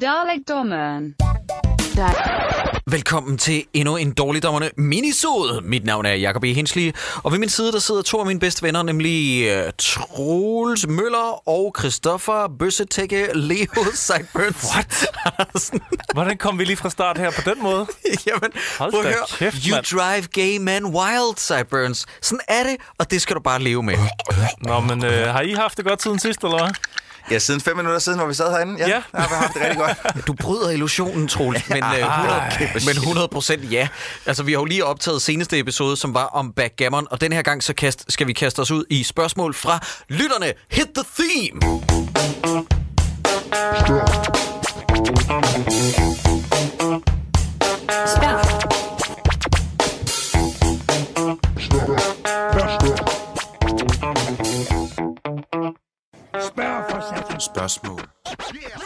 Dalek dommeren. Velkommen til endnu en dårligdommerne minisode. Mit navn er Jacob E. Hensley, og ved min side der sidder to af mine bedste venner, nemlig øh, Troels Møller og Christoffer Bøssetække Leo Seiburns. What? Hvordan kom vi lige fra start her på den måde? Jamen, Hold prøv at da høre. kæft, You mand. drive gay man wild, Seiburns. Sådan er det, og det skal du bare leve med. Nå, men øh, har I haft det godt siden sidst, eller hvad? Ja, siden fem minutter siden, hvor vi sad herinde. Ja, Ja. ja. vi har haft det rigtig godt. Du bryder illusionen, Troels, men, øh, 100, men 100 procent ja. Altså, vi har jo lige optaget seneste episode, som var om backgammon, og den her gang så kast, skal vi kaste os ud i spørgsmål fra lytterne. Hit the theme! Spørg. Spørgsmål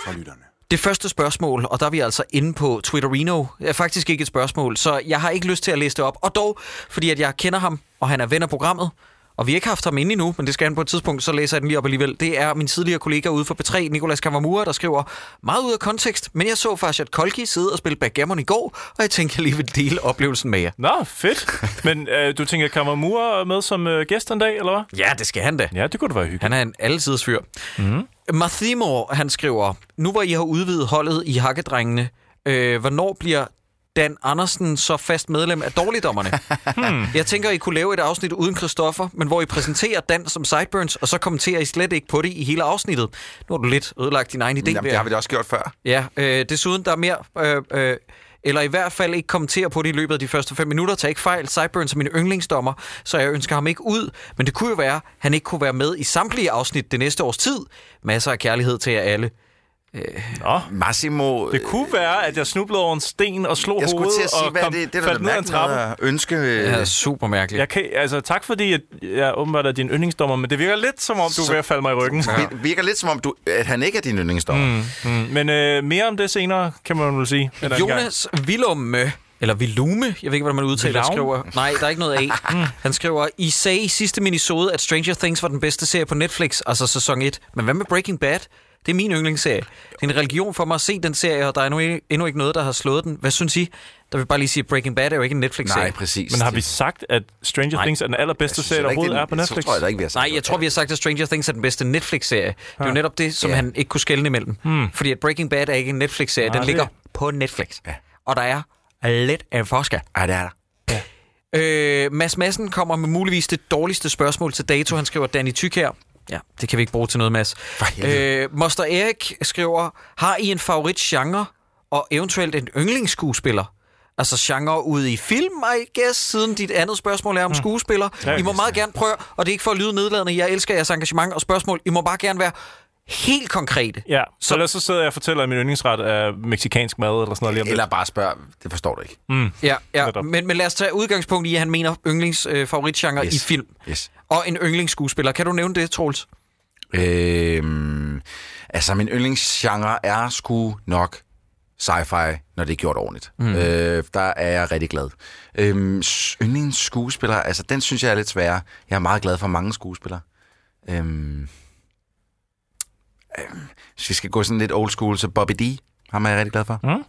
fra lytterne. Det første spørgsmål, og der er vi altså inde på Twitterino, er faktisk ikke et spørgsmål, så jeg har ikke lyst til at læse det op. Og dog, fordi at jeg kender ham, og han er ven af programmet, og vi har ikke haft ham inde endnu, men det skal han på et tidspunkt, så læser jeg den lige op alligevel. Det er min tidligere kollega ude for P3, Nicolas Kammermura, der skriver, meget ud af kontekst, men jeg så faktisk, at Kolki sidde og spille backgammon i går, og jeg tænkte, jeg lige vil dele oplevelsen med jer. Nå, fedt. Men øh, du tænker, kommer Mur med som øh, gæst en dag, eller hvad? Ja, det skal han da. Ja, det kunne da være hyggeligt. Han er en alsides fyr. Mm. Mathimo, han skriver, nu hvor I har udvidet holdet i Hakkedrengene, øh, hvornår bliver Dan Andersen så fast medlem af dårligdommerne? hmm. Jeg tænker, I kunne lave et afsnit uden Christoffer, men hvor I præsenterer Dan som sideburns, og så kommenterer I slet ikke på det i hele afsnittet. Nu har du lidt ødelagt din egen idé. Jamen, ved det har at- vi da også gjort før. Ja, øh, desuden der er mere... Øh, øh, eller i hvert fald ikke kommentere på det i løbet af de første 5 minutter. Tag ikke fejl. Sideburns er min yndlingsdommer, så jeg ønsker ham ikke ud. Men det kunne jo være, han ikke kunne være med i samtlige afsnit det næste års tid. Masser af kærlighed til jer alle. Nå. Massimo, Det kunne være, at jeg snublede over en sten og slog jeg skulle hovedet til at sige, og hvad er kom, det, det er da faldt ned ad en mærkeligt trappe. at ønske. Det Ja. er super mærkeligt. Jeg kan, altså, tak fordi at jeg åbenbart er din yndlingsdommer, men det virker lidt som om, du er ved at falde mig i ryggen. Det virker lidt som om, du, at han ikke er din yndlingsdommer. Mm. Men øh, mere om det senere, kan man vel sige. en anden gang. Jonas Villumme, eller Villume, jeg ved ikke, hvordan man udtaler, det, Villaum? skriver... Nej, der er ikke noget af. Han skriver, I sagde i sidste minisode, at Stranger Things var den bedste serie på Netflix, altså sæson 1. Men hvad med Breaking Bad? Det er min yndlingsserie. Det er en religion for mig at se den serie, og der er endnu, endnu ikke noget, der har slået den. Hvad synes I? Der vil jeg bare lige sige, at Breaking Bad er jo ikke en Netflix-serie. Nej, præcis. Men har vi sagt, at Stranger Nej. Things er den allerbedste Så serie, der der ikke, overhovedet det- er på Så Netflix? tror jeg da ikke, vi har sagt Nej, jeg tror, vi har sagt, at Stranger Things er den bedste Netflix-serie. Det er jo netop det, som Ja. han ikke kunne skælne imellem. Hmm. Fordi at Breaking Bad er ikke en Netflix-serie. Den det- ligger på Netflix. Og der er lidt af en forskel. Ej, det er der. Øh, Mads Madsen kommer med muligvis det dårligste spørgsmål til dato. Han skriver Danny Tyk her. Ja, det kan vi ikke bruge til noget, Mads. Øh, Moster Erik skriver, har I en favoritgenre og eventuelt en yndlingsskuespiller? Altså genre ude i film, I guess, siden dit andet spørgsmål er om skuespiller. I må meget gerne prøve, og det er ikke for at lyde nedladende, jeg elsker jeres engagement og spørgsmål. I må bare gerne være helt konkrete. Ja, så, ellers så sidder jeg og fortæller, at min yndlingsret er meksikansk mad eller sådan noget lige om lidt. Eller bare spørg, det forstår du ikke. Mm. Ja, ja. Netop. Men, men lad os tage udgangspunkt i, at han mener yndlings øh, favoritgenre Yes. i film. Yes. Og en yndlingsskuespiller. Kan du nævne det, Troels? Øhm, altså, min yndlingsgenre er sgu nok sci-fi, når det er gjort ordentligt. Mm. Øh, der er jeg rigtig glad. Øhm, s- yndlingsskuespiller, altså, den synes jeg er lidt sværere. Jeg er meget glad for mange skuespillere. Øhm, øhm, hvis vi skal gå sådan lidt old school, så Bobby D, ham er jeg rigtig glad for. Mm.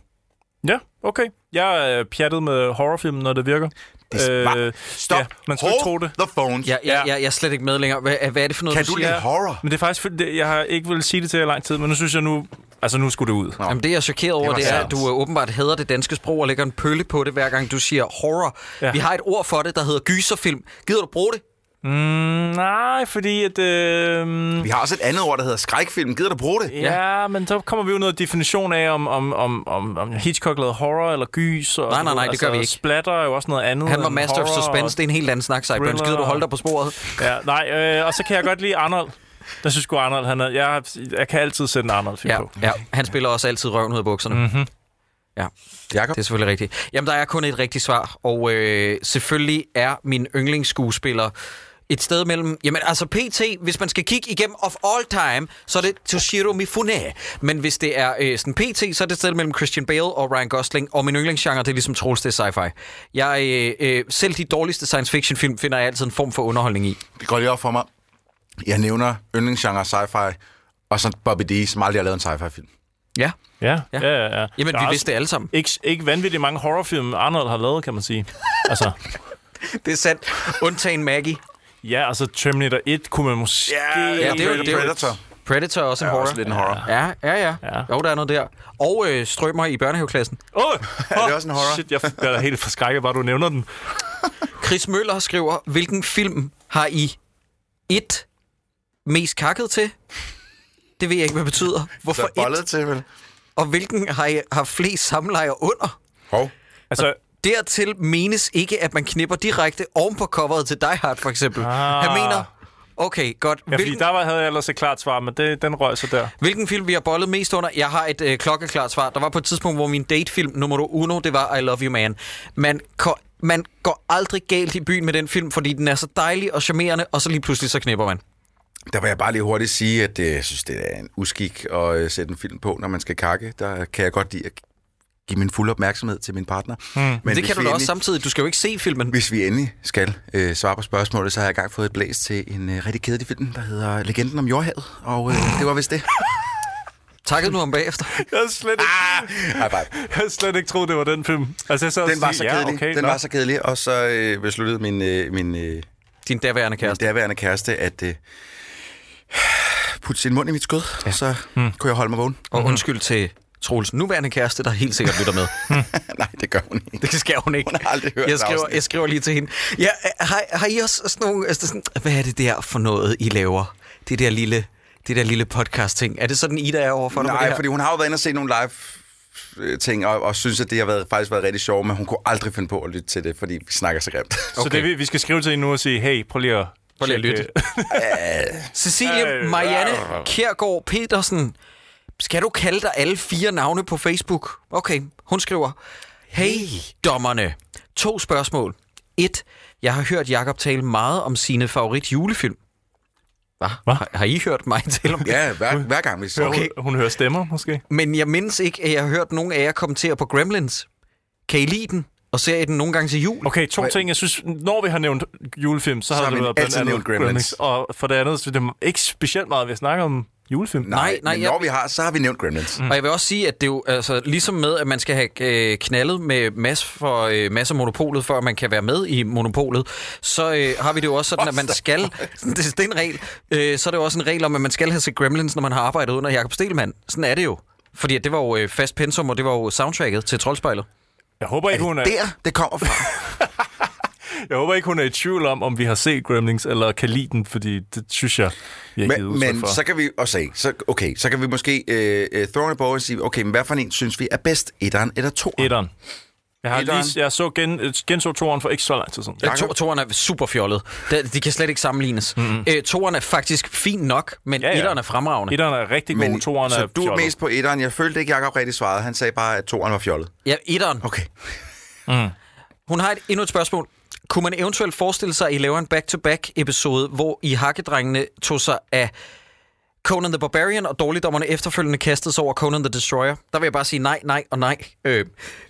Ja, okay. Jeg er øh, pjattet med horrorfilm, når det virker. Øh, Det er smart. Stop. Ja, man skulle ikke tro Hold det. the phones. Jeg, jeg, Ja. jeg, jeg er slet ikke med længere. Hvad, hvad er det for noget, Kan du du siger? lide horror? Men det er faktisk, fordi det- jeg har ikke ville sige det til jer i lang tid, men nu synes jeg nu, altså nu skulle det ud. Nå. Jamen, det, jeg er chokeret over, var det, det er, sandt. at du øh, åbenbart hader det danske sprog og lægger en pølle på det, hver gang du siger horror. Ja. Ja. Vi har et ord for det, der hedder gyserfilm. Gider du bruge det? Mm, nej, fordi at, øh, Vi har også et andet ord, der hedder skrækfilm. Gider du bruge det? ja. men så kommer vi jo noget definition af, om, om, om, om, om Hitchcock lavede horror eller gys. Og Nej, sådan nej, nej, noget. det gør vi ikke. Splatter er jo også noget andet Han var end master of horror suspense. Det er en helt anden snak, Cyburns. thriller Gider du holde og- dig på sporet? Og, ja, nej, øh, og så kan jeg godt lide Arnold. Der synes sgu Arnold, han er, jeg, jeg kan altid sætte en Arnold-film Ja, på. Mhm. ja. Han spiller også altid røven ud af bukserne. Mm-hmm. Ja, Jakob? det er selvfølgelig rigtigt. Jamen, der er kun et rigtigt svar, og øh, selvfølgelig er min yndlingsskuespiller et sted mellem... Jamen, altså PT, hvis man skal kigge igennem of all time, så er det Toshiro Mifune. Men hvis det er øh, sådan PT, så er det et sted mellem Christian Bale og Ryan Gosling. Og min yndlingsgenre, det er ligesom Troels, det er sci-fi. Jeg, øh, øh, selv de dårligste science fiction film finder jeg altid en form for underholdning i. Det går lige op for mig. Jeg nævner yndlingsgenre sci-fi, og så Bobby D, som aldrig har lavet en sci-fi-film. Ja. Ja, Ja. ja, ja. ja. Jamen, Der vi er vidste det alle sammen. Ikke, ikke vanvittigt mange horrorfilm, Arnold har lavet, kan man sige. altså, Det er sandt. Undtagen Maggie. ja, altså Terminator 1 kunne man måske... ja, det er jo- det er jo- Predator. Predator er også en Det er horror. også lidt en horror. Ja, ja, ja. Ja. Jo, der er noget der. Og øh, strømmer i børnehaveklassen. Oh, Er det også en horror? Shit, jeg f- bliver da helt forskrækket, bare du nævner den. Chris Møller skriver, hvilken film har I et mest kakket til? Det ved jeg ikke, hvad det betyder. Så Hvorfor bollet et? til, vel? Og hvilken har I har flest samlejer under? Hov. Altså, Dertil menes ikke, at man knipper direkte oven på coveret til Die Hard, for eksempel. Ah. Han mener, okay, godt. ja, fordi der var, havde jeg ellers et klart svar, men det, den røg så der. Hvilken film vi har bollet mest under? Jeg har et øh, klokkeklart svar. Der var på et tidspunkt, hvor min datefilm nummer uno, det var I Love You Man. Man, ko- man går aldrig galt i byen med den film, fordi den er så dejlig og charmerende, og så lige pludselig så knipper man. Der vil jeg bare lige hurtigt sige, at øh, jeg synes, det er en uskik at øh, sætte en film på, når man skal kakke. Der kan jeg godt lide at give min fulde opmærksomhed til min partner. Mm. Men Hmm. Men det kan hvis du vi da endelig- også samtidig. Du skal jo ikke se filmen. Hvis vi endelig skal øh, svare på spørgsmålet, så har jeg engang fået et blæs til en øh, rigtig kedelig film, der hedder Legenden om Jordhavet, og øh, det var vist det. Takket nu om bagefter. Jeg havde slet ikke, High five. Ah! jeg havde slet ikke troet, det var den film. Altså, jeg sad og Den var så sige, kedelig, ja, okay, den nå. var så kedelig, og så øh, besluttede min, øh, min, øh, Din daværende min kæreste. derværende kæreste at øh, putte sin mund i mit skød, og så Hmm. mm. kunne jeg holde mig vågen. Og undskyld til Troels nuværende kæreste, der helt sikkert lytter med. Nej, det gør hun ikke. Det skal hun ikke. Hun har aldrig hørt jeg skriver, afsnit. jeg skriver lige til hende. Ja, øh, har, har I også sådan nogle... Altså sådan, hvad er det der for noget, I laver? Det der lille, det der lille podcast-ting. Er det sådan, Ida er overfor dig? med det Nej, her? fordi hun har jo været inde og se nogle live øh, ting, og, og synes, at det har været, faktisk været rigtig sjovt, men hun kunne aldrig finde på at lytte til det, fordi vi snakker så grimt. Så det, vi, vi skal skrive til hende nu og sige, hey, prøv lige at... Prøv lige at tjekke- lytte. Cecilie Øh, Marianne Kjærgaard Petersen. Skal du kalde dig alle fire navne på Facebook? Okay, hun skriver. Hey, dommerne. To spørgsmål. Et. Jeg har hørt Jakob tale meget om sine favorit julefilm. Hvad? Hva? Har, har I hørt mig tale om det? ja, hver, hver gang vi så. Okay. øh, Hun, hun hører stemmer, måske. Men jeg mindes ikke, at jeg har hørt nogen af jer kommentere på Gremlins. Kan I lide den? Og ser I den nogle gange til jul? Okay, to ting. Jeg synes, når vi har nævnt julefilm, så, Så har har det man været blandt altid andet nævnt Gremlins. Og for det andet, så er det ikke specielt meget, vi snakker om julefilm. Nej, nej, men jeg- når vi har, så har vi nævnt Gremlins. Mm. Og jeg vil også sige, at det er jo altså, ligesom med, at man skal have øh, knaldet med mas for øh, masser af monopolet, før man kan være med i monopolet, så øh, har vi det jo også sådan, at man skal... det, det er en regel. Øh, så er det jo også en regel om, at man skal have set Gremlins, når man har arbejdet under Jakob Stelmann. Sådan er det jo. Fordi at det var jo øh, fast pensum, og det var jo soundtracket til Troldspejlet. Jeg håber, ikke, hun er, Der, det kommer fra. jeg håber ikke, hun er i tvivl om, om vi har set Gremlins, eller kan lide den, fordi det synes jeg, vi har givet men udtryk men for. så kan vi også se, så, okay, så kan vi måske øh, øh, throw in a ball og sige, okay, men hvad for en synes vi er bedst? Etteren eller toeren? Etteren. Jeg, har Etteren. lige, jeg så gen, øh, genså toeren for ikke så lang tid siden. Ja, Øh, to, toren er super fjollet. De, de kan slet ikke sammenlignes. Mm-hmm. Øh, toren er faktisk fin nok, men ja, Ja, ja. ja. etteren er fremragende. Etteren er rigtig god, Men, men, toeren så er du er fjollet. mest på etteren. Jeg følte ikke, Jacob rigtig svarede. Han sagde bare, at toeren var fjollet. Ja, etteren. Okay. Hun har et, endnu et spørgsmål. Kunne man eventuelt forestille sig, at I laver en back-to-back episode, hvor I hakkedrengene tog sig af Conan the Barbarian, og dårligdommerne efterfølgende kastede sig over Conan the Destroyer? Der vil jeg bare sige nej, nej og nej. Øh,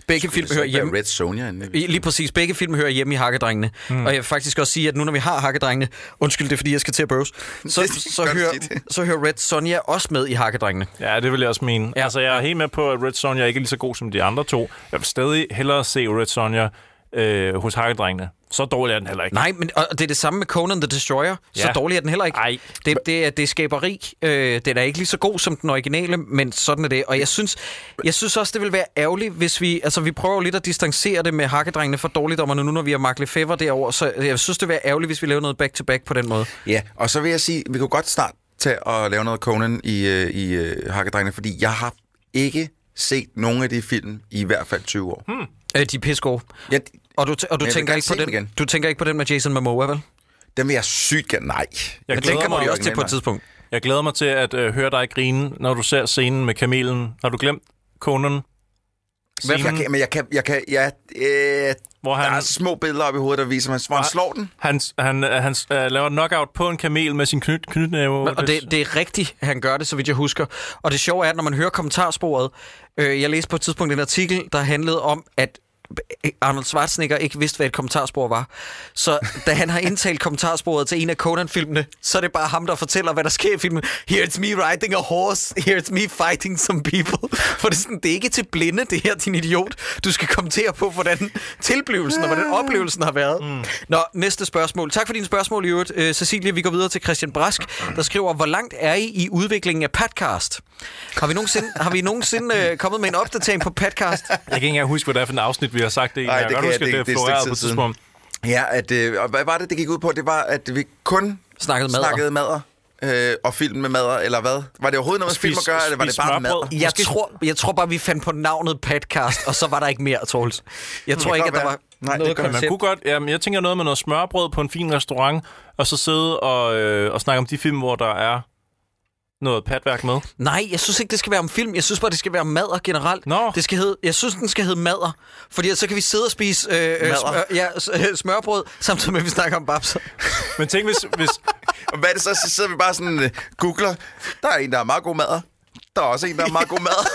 begge film Så hører ikke være hjemme... Red Hmm. Sonja inde. I- Lige præcis. Begge film hører hjemme i Hakkedrengene. Mm. Og jeg vil faktisk også sige, at nu når vi har Hakkedrengene... Undskyld, det er fordi, jeg skal til at bøves. Så, Det kan så, godt hører, sige det. så hører Red Sonja også med i Hakkedrengene. Ja, det vil jeg også mene. Ja. Ja. Altså, jeg er helt med på, at Red Sonja ikke er lige så god som de andre to. Jeg vil stadig hellere se Red Sonja øh, hos hakkedrengene. Så dårlig er den heller ikke. Nej, men og det er det samme med Conan the Destroyer. Ja. Så Ja. dårlig er den heller ikke. Ej. Det, det, er, det er skaberi. Øh, den er ikke lige så god som den originale, men sådan er det. Og jeg synes, jeg synes også, det vil være ærgerligt, hvis vi... Altså, vi prøver jo lidt at distancere det med hakkedrengene fra dårligdommerne nu, når vi har Mark Lefebvre derovre. Så jeg synes, det vil være ærgerligt, hvis vi laver noget back-to-back på den måde. Ja, og så vil jeg sige, vi kunne godt snart tage og lave noget Conan i, øh, i øh, Hakkedrengene, fordi jeg har ikke set nogen af de film i i hvert fald 20 år. Hmm. Øh, de er pissegode. Jeg, Og du, tæ- og du, Men jeg vil tænker gerne ikke på se dem den, igen. du tænker ikke på den med Jason Momoa, vel? den vil jeg sygt gerne... Nej. Jeg, glæder Den mig kommer de jo også til på et tidspunkt. Jeg glæder mig til at øh, høre dig grine, når du ser scenen med kamelen. Har du glemt konen? Hvad for, jeg Scenen, kan, men jeg kan... Jeg kan jeg, øh, Hvor der er han, små billeder op i hovedet, der viser mig, hvor han Nej. slår den. han, han, øh, han øh, laver knockout på en kamel med sin knyt, knytnæve. Og det, det er rigtigt, han gør det, så vidt jeg husker. Og det sjove er, at når man hører kommentarsporet, øh, jeg læste på et tidspunkt en artikel, der handlede om, at Arnold Schwarzenegger ikke vidste, hvad et kommentarspor var. Så da han har indtalt kommentarsporet til en af Conan-filmene, så er det bare ham, der fortæller, hvad der sker i filmen. Here it's me riding a horse. Here it's me fighting some people. For det er, sådan, det er ikke til blinde, det her, din idiot. Du skal kommentere på, hvordan tilblivelsen og hvordan oplevelsen har været. Mm. Nå, næste spørgsmål. Tak for dine spørgsmål, i øvrigt. Øh, Cecilie, vi går videre til Christian Brask, der skriver, hvor langt er I i udviklingen af podcast? Har vi nogensinde, har vi nogensinde øh, kommet med en opdatering på podcast? Jeg kan ikke engang huske, hvad det er for en afsnit, vi har sagt det i. Nej, Jeg det kan kan huske, jeg- at det, det- det er et stykke florerede tid på et siden. tidspunkt. Ja, at, øh, og hvad var det, det gik ud på? Det var, at vi kun Snakkede madder. snakkede madder. Øh, og film med madder, eller hvad? Var det overhovedet noget med film Spis- at gøre, eller var det spis bare smørbrød. madder? Jeg, tror, jeg tror bare, vi fandt på navnet podcast, og så var der ikke mere, Troels. Jeg tror ikke, at godt der være. var Nej, det noget kan man Men man koncept. kunne godt, jamen, jeg tænker noget med noget smørbrød på en fin restaurant, og så sidde og, øh, og snakke om de film, hvor der er noget patværk med. Nej, jeg synes ikke, det skal være om film. Jeg synes bare, det skal være om madder generelt. Nå. Det skal hedde, jeg synes, den skal hedde madder. Fordi ellers så kan vi sidde og spise øh, øh, smør, ja, s- øh, smørbrød, samtidig med, at vi snakker om babser. Men tænk, hvis, hvis, Og hvad er det så? Så sidder vi bare sådan øh, googler. Der er en, der er meget god madder. Der er også en, der er meget god madder.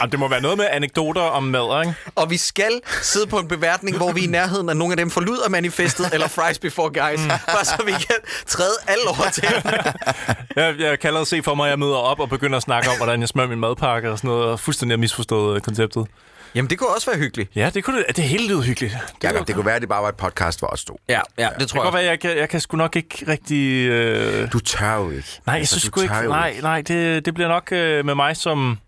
jamen, det må være noget med anekdoter om mad, ikke? Og vi skal sidde på en beværtning, hvor vi er i nærheden af nogle af dem forlyder manifestet, eller fries before guys. Bare så vi kan træde alle over til. Jeg, jeg kan allerede se for mig, at jeg møder op og begynder at snakke om, hvordan jeg smører min madpakke og sådan noget, og fuldstændig har misforstået øh, konceptet. Jamen, det kunne også være hyggeligt. Ja, det kunne det, det hele lyder hyggeligt. Det, Jakob, det kunne være, at det bare var et podcast for os to. Ja, ja, det det tror kan jeg. godt være, jeg kan, jeg kan sgu nok ikke rigtig... Øh... Du tør jo ikke. Nej, Altså, jeg synes du sgu tør ikke... jo Nej, nej, det, det bliver nok øh, med mig som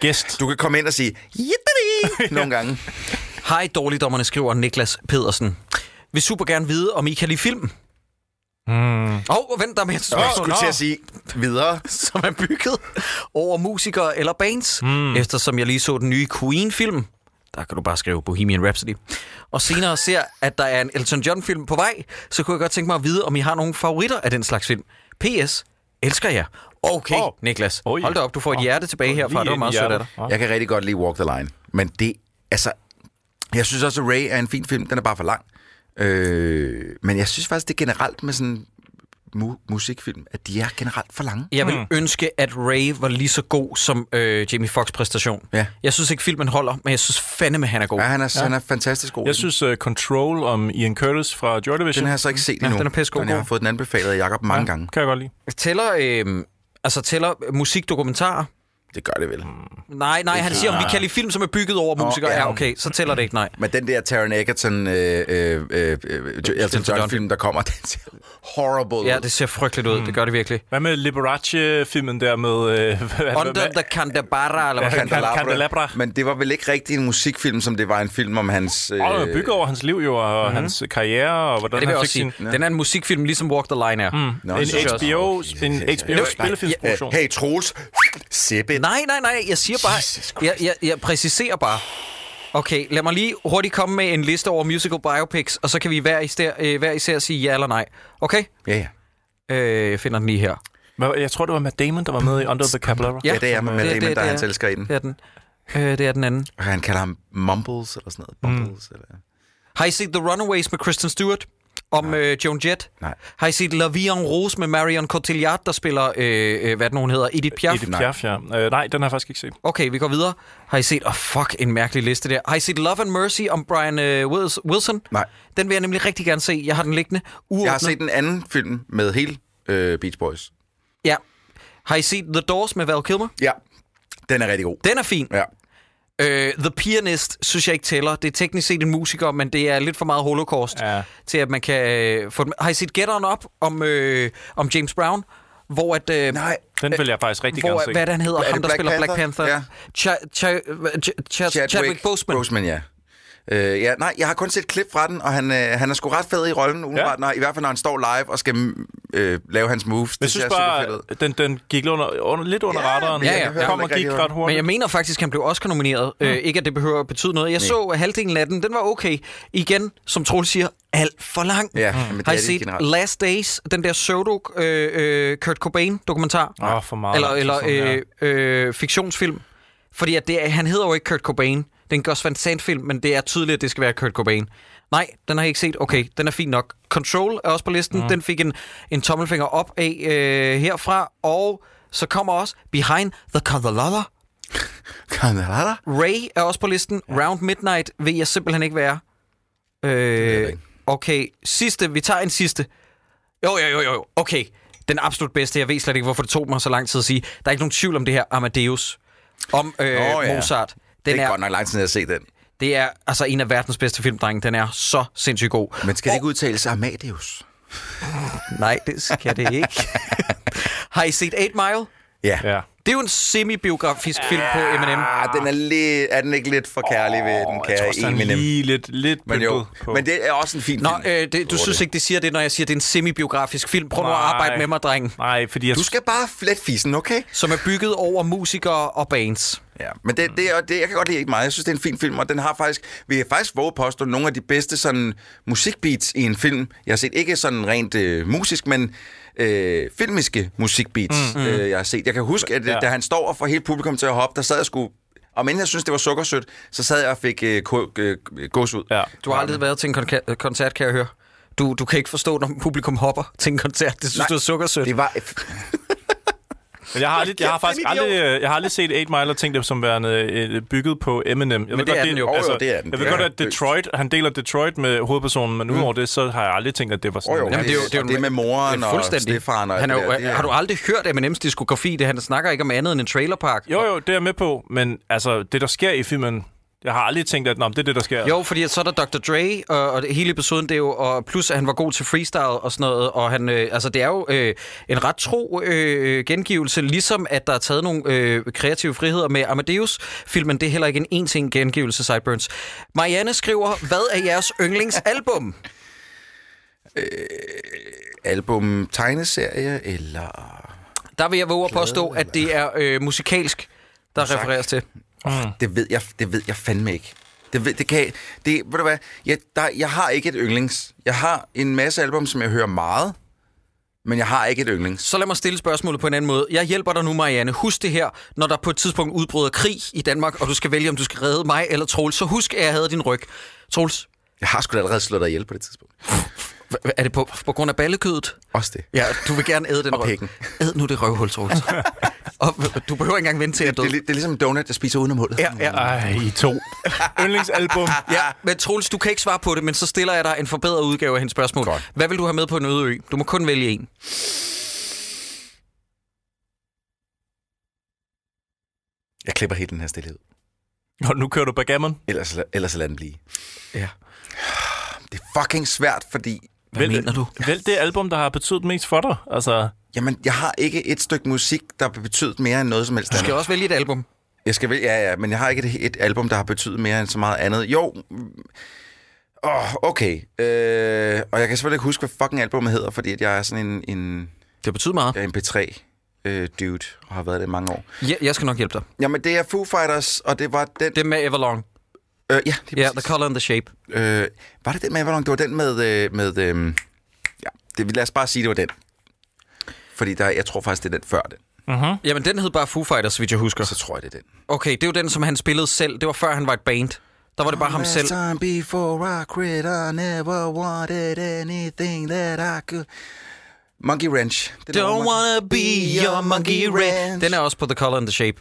gæst. Du kan komme ind og sige, "Jippity!" nogle gange. Hej, dårligdommerne, skriver Niklas Pedersen. Vil super gerne vide, om I kan lide film. Mm. Og oh, vent, der er mere til Og jeg spørgsmål, skulle til at sige videre. som er bygget over musikere eller bands. Hmm. Mm. Eftersom jeg lige så den nye Queen-film, der kan du bare skrive Bohemian Rhapsody, og senere ser, at der er en Elton John-film på vej, så kunne jeg godt tænke mig at vide, om I har nogle favoritter af den slags film. P.S. Elsker jer. Okay, oh. Åh. Niklas. Oj. Oh, Hold da op, du får et Åh. oh. hjerte tilbage herfra. Det var meget sødt af dig. Jeg kan rigtig godt lide Walk the Line. Men det, altså... Jeg synes også, at Ray er en fin film. Den er bare for lang. Øh, men jeg synes faktisk, det er generelt med sådan mu- musikfilm, at de er generelt for lange. Jeg Hmm. vil mm. ønske, at Ray var lige så god som øh, Jamie Foxx præstation. Ja. Jeg synes ikke, filmen holder, men jeg synes fandeme, han er god. Ja, Ja, han er, ja. han er fantastisk god. Jeg synes, uh, Control om Ian Curtis fra Joy Division, den har jeg så ikke set endnu. den er pissegod. Men jeg har fået den anbefalet af Jacob mange ja. gange. kan jeg godt lide. Tæller, øh, altså, tæller musikdokumentarer? Det gør det vel. Mm. Nej, nej, han siger, om vi kan lide film, som er bygget over musikere. ja. Ja, okay, så tæller det ikke, nej. Men den der Taron Egerton, øh, øh, øh, øh, Elton John-film, der kommer, den ser horrible Ja, ud. det ser frygteligt ud, det gør det virkelig. Hvad med Liberace-filmen der med... Øh, hvad, Altså, Under the Candelabra, eller hvad Ja, fanden der Can- er. Candelabra. Men det var vel ikke rigtig en musikfilm, som det var en film om hans... Øh, Og bygger over hans liv jo, og mm-hmm. hans karriere, og Mhm. Ja, det hvordan vil jeg han også fik sin... sige. Den er en musikfilm, ligesom Walk the Line er. Nå, en så- HBO, en HBO-spillefilmsproduktion. Hey, Troels, sæbe. Nej, nej, nej, jeg siger bare... Jeg, jeg, jeg præciserer bare. Okay, lad mig lige hurtigt komme med en liste over musical biopics, og så kan vi hver især, øh, hver især sige ja eller nej. Okay? Ja, ja. Øh, jeg finder den lige her. Men Jeg tror, det var Matt Damon, der var med i Under the Candelabra. Ja, det er med Matt Damon, der er hans elsker i den. Det er den. Øh, det er den anden. Og han kalder ham Mumbles, eller sådan noget. Mumbles, eller... Har I set The Runaways med Kristen Stewart? Om øh, Joan Jett? Nej. Har I set La Vie en Rose med Marion Cotillard, der spiller, øh, øh, hvad den hun hedder, Edith Piaf? Edith Piaf, ja. Øh, nej, den har jeg faktisk ikke set. Okay, vi går videre. Har I set, åh oh, fuck, en mærkelig liste der. Har I set Love and Mercy om Brian øh, Wils- Wilson? Nej. Den vil jeg nemlig rigtig gerne se. Jeg har den liggende. Uåbnet. Jeg har set en anden film med hele øh, Beach Boys. Ja. Har I set The Doors med Val Kilmer? Ja, den er rigtig god. Den er fin. Ja. Øh, The Pianist synes jeg ikke tæller. Det er teknisk set en musiker, men det er lidt for meget holocaust ja. Ja. til, at man kan øh, få den. Har I set Get On Up om, øh, om James Brown? Hvor at... Øh, Nej, Den vil jeg altså faktisk rigtig hvor, gerne er- se. hvad er det, han hedder? Er det ham, der Black spiller Black Panther? Panther? Ja. Cha- cha- cha- cha- Chadwick, Chadwick Boseman. Boseman ja. Øh, ja, nej, jeg har kun set et klip fra den, og han, øh, han er sgu ret fed i rollen, umiddelbart, ja. når, i hvert fald når han står live og skal mm, øh, lave hans moves. Jeg synes bare, den, den gik under, under, lidt under Ja, radaren. ja, ja. Den kom og gik ret Men jeg hurtigt. mener faktisk, at han blev Oscar-nomineret. Mm. Øh, ikke, at det behøver at betyde noget. Jeg Nej. så halvdelen af den. Den var okay. Igen, som Troels siger, alt for lang. Ja, Mm. men det Har I er det set generelt. Last Days, den der pseudo øh, øh, Kurt Cobain-dokumentar? Åh, for meget. Eller, eller Sådan, ja. øh, øh, fiktionsfilm. Fordi at det er, han hedder jo ikke Kurt Cobain. Det er en Gus Van Sant-film, men det er tydeligt, at det skal være Kurt Cobain. Nej, den har jeg ikke set. Okay, den er fin nok. Control er også på listen. Mm. Den fik en, en tommelfinger op af øh, herfra. Og så kommer også Behind the Color Kanalada? Ray er også på listen. Ja. Round Midnight ved jeg simpelthen ikke, hvad er. Øh, ikke. okay, sidste. Vi tager en sidste. Jo, jo, jo, jo. Okay. Den absolut bedste. Jeg ved slet ikke, hvorfor det tog mig så lang tid at sige. Der er ikke nogen tvivl om det her Amadeus. Om øh, Nå, ja. Mozart. Den Det er godt nok lang tid siden, jeg har set den. det er altså en af verdens bedste film, drenge. Den er så sindssygt god. Men skal det ikke udtales Amadeus? Nej, det skal det ikke. Har I set 8 Mile? Ja. Ja. Det er jo en semi-biografisk film på M&M. Eminem. Ah, den er, lidt, er den ikke lidt for kærlig ved den, Jeg tror kære også, der er Eminem? lige lidt, lidt Men jo, pyntet på. men det er også en fin Nå, film. øh, det, du synes ikke, det siger det, når jeg siger, det er en semi-biografisk film. Prøv nu at Nej. arbejde med mig, drenge. Nej, fordi jeg... Du skal bare flet fisen, okay? Som er bygget over musikere og bands. Ja, men det, det, er- det, jeg kan godt lide ikke meget. Jeg synes, det er en fin film, og den har faktisk, vi har faktisk våge påstå, nogle af de bedste sådan, musikbeats i en film. Jeg har set ikke sådan rent øh, musisk, men øh, filmiske musikbeats, mm, mm. Øh, jeg har set. Jeg kan huske, at ja. Ja. da han står og får hele publikum til at hoppe, der sad jeg sgu, og men jeg synes, det var sukkersødt, så sad jeg og fik øh, ko- øh, gås ud. Ja. Du har aldrig været til en konka- koncert, kan jeg høre. Du, du kan ikke forstå, når publikum hopper til en koncert. Det synes Nej, Nej, du er sukkersødt. Det var... Men jeg har, aldrig, jeg har faktisk aldrig, øh, jeg har aldrig set 8 Mile og tænkt dem som værende øh, bygget på Eminem. Jeg men det er den jo. Jo, jo, det er altså, Jeg den. Det ved er godt, at løst. Detroit, han deler Detroit med hovedpersonen, men udover det, så har jeg aldrig tænkt, at det var sådan. Oh, jo, en- Jamen, det er Mm. jo- det er jo og en- det med moren og Fuldstændig. stefaren og Han er alt jo, det der, det er- har du aldrig hørt Eminems diskografi? Det, han snakker ikke om andet end en trailerpark. Jo, jo, det er jeg med på, men altså, det der sker i filmen, jeg har aldrig tænkt, at Nå, men det er det, der sker. Jo, fordi at så er der Dr. Dre, og, og det- hele episoden, det er jo, og plus at han var god til freestyle og sådan noget, og han, øh, altså det er jo øh, en ret tro øh, gengivelse, ligesom at der er taget nogle øh, kreative friheder med Amadeus-filmen, det er heller ikke en en-ting gengivelse, Sideburns. Marianne skriver, hvad er jeres yndlingsalbum? album tegneserie, eller... Der vil jeg våge at påstå, at det er øh, musikalsk, der refereres til. Mm. Det ved jeg, det ved jeg fandme ikke. Det, ved, det kan jeg- det, ved du hvad, jeg, der, jeg har ikke et yndlings. Jeg har en masse album, som jeg hører meget, men jeg har ikke et yndlings. Så lad mig stille spørgsmålet på en anden måde. Jeg hjælper dig nu, Marianne. Husk det her, når der på et tidspunkt udbryder krig i Danmark, og du skal vælge, om du skal redde mig eller Troels. Så husk, at jeg havde din ryg. Troels, Jeg har sgu da allerede slået dig ihjel på det tidspunkt. hva- hva- er det på, på grund af ballekødet? Også det. Ja, du vil gerne æde den Og pikken. Æd nu det røvhul, Troels. og h- du behøver ikke engang vente til, at jeg er Det er, død. li- det er ligesom en donut, jeg spiser uden om hullet. Ah, Ja, ja. Ej, I to. Yndlingsalbum. Ja, men Troels, du kan ikke svare på det, men så stiller jeg dig en forbedret udgave af hendes spørgsmål. Godt. Hvad vil du have med på en øde ø? Du må kun vælge en. Jeg klipper helt den her stillhed. Nå, nu kører du bagammon. Ellers, ellers lader den blive. Ja. Det er fucking svært, fordi... Hvad mener du? Vælg det album, der har betydet mest for dig. Altså, Jamen, jeg har ikke et stykke musik, der betyder mere end noget som helst Du skal andet. også vælge et album. Jeg skal vel, ja, ja, men jeg har ikke et, et album, der har betydet mere end så meget andet. Jo, mm, åh, okay. Øh, og jeg kan selvfølgelig ikke huske, hvad fucking albumet hedder, fordi at jeg er sådan en, en, Det betyder meget. jeg er en P3-dude, og har været det i mange år. Jeg, jeg skal nok hjælpe dig. Jamen, det er Foo Fighters, og det var den... Det med Everlong. Øh, ja, det Ja, er yeah, The Color and the Shape. yeah, øh, Var det den med Avalon? Det var den med... Øh, med øh, ja, det, lad os bare sige, det var den. Fordi der, jeg tror faktisk, det er den før den. Jamen, den hed bare Foo Fighters, hvis jeg husker. Så tror jeg, det er den. Okay, det er jo den, som han spillede selv. Det var før han var et band. Der var det bare ham Last selv. time before I quit, I never wanted anything that I could... Monkey Ranch. Det er Don't nummer- wanna be your monkey ranch. Den er også på The Color and the Shape.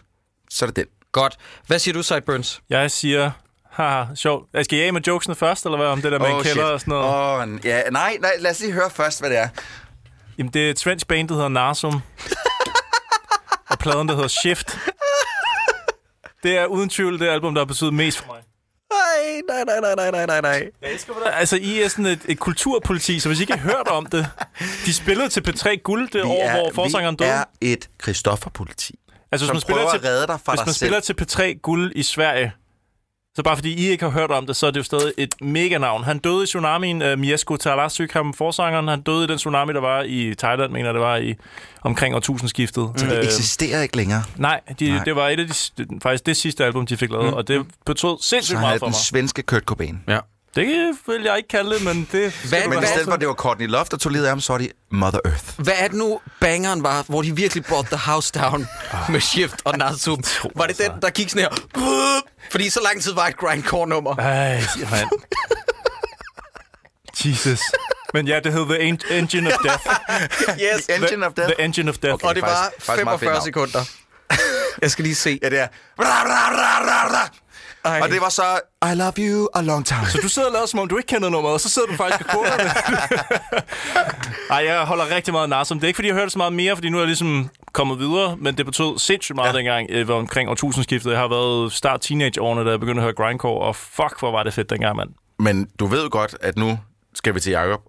Så er det den. Godt. Hvad siger du, Sideburns? jeg siger, haha, sjovt. Jeg skal jeg af med jokesene først, eller hvad? Om det der med oh, en kælder og sådan noget. Oh. Åh, n- ja, nej, nej, lad os lige høre først, hvad det er. Jamen, det er et svensk band, der hedder Narsum. og pladen, der hedder Shift. Det er uden tvivl det album, der har betydet mest for mig. Nej, nej, nej, nej, nej, nej, nej, nej. Jeg elsker, hvordan- Altså, I er sådan et, et kulturpoliti, så hvis I ikke har hørt om det... De spillede til P3 Guld det år, hvor forsangeren vi døde. er et Christoffer-politi. Altså, hvis Som man spiller prøver til, at redde dig fra hvis dig man spiller til P3 Guld i Sverige, så bare fordi I ikke har hørt om det, så er det jo stadig et mega navn. Han døde i tsunamien, uh, Miesko Talasyk, ham forsangeren, han døde i den tsunami, der var i Thailand, mener jeg, det var i omkring årtusindskiftet. Mm. Det eksisterer ikke længere. nej, de, Nej. nej, det var et af de, det- faktisk det sidste album, de fik lavet, mm. og det betød Så sindssygt han er meget for den mig. svenske Kurt Cobain. Ja. Det vil jeg ikke kalde det, men det... Hvad, Men i stedet for, hvad, at det var Courtney Love, der tog livet af ham, så er det Mother Earth. hvad er det nu, bangeren var, hvor de virkelig brought the house down med Shift og Narsum? Var Ah. det den, der gik sådan her? Fordi så lang tid var et grindcore-nummer. Ej, mand. Jesus. Men ja, det hed The En- Engine of Death. Yes. Engine of Death. The Engine of Death. Og det faktisk- var faktisk meget fedt 45 navn. sekunder. Jeg skal lige se. Ja, det er... Bra, bra, bra, bra, bra. Ej. Og det var så... I love you a long time. Så du sidder og lader, som om du ikke kender nummeret, og så sidder du faktisk og koder det. Ej, jeg holder rigtig meget af Narsum. Det er ikke, fordi jeg hørte så meget mere, fordi nu er jeg ligesom kommet videre, men det betød sindssygt meget ja. dengang, øh, var omkring årtusindskiftet. Jeg har været start teenageårene, da jeg begyndte at høre grindcore, og fuck, hvor var det fedt dengang, mand. Men du ved jo godt, at nu skal vi til Jacob,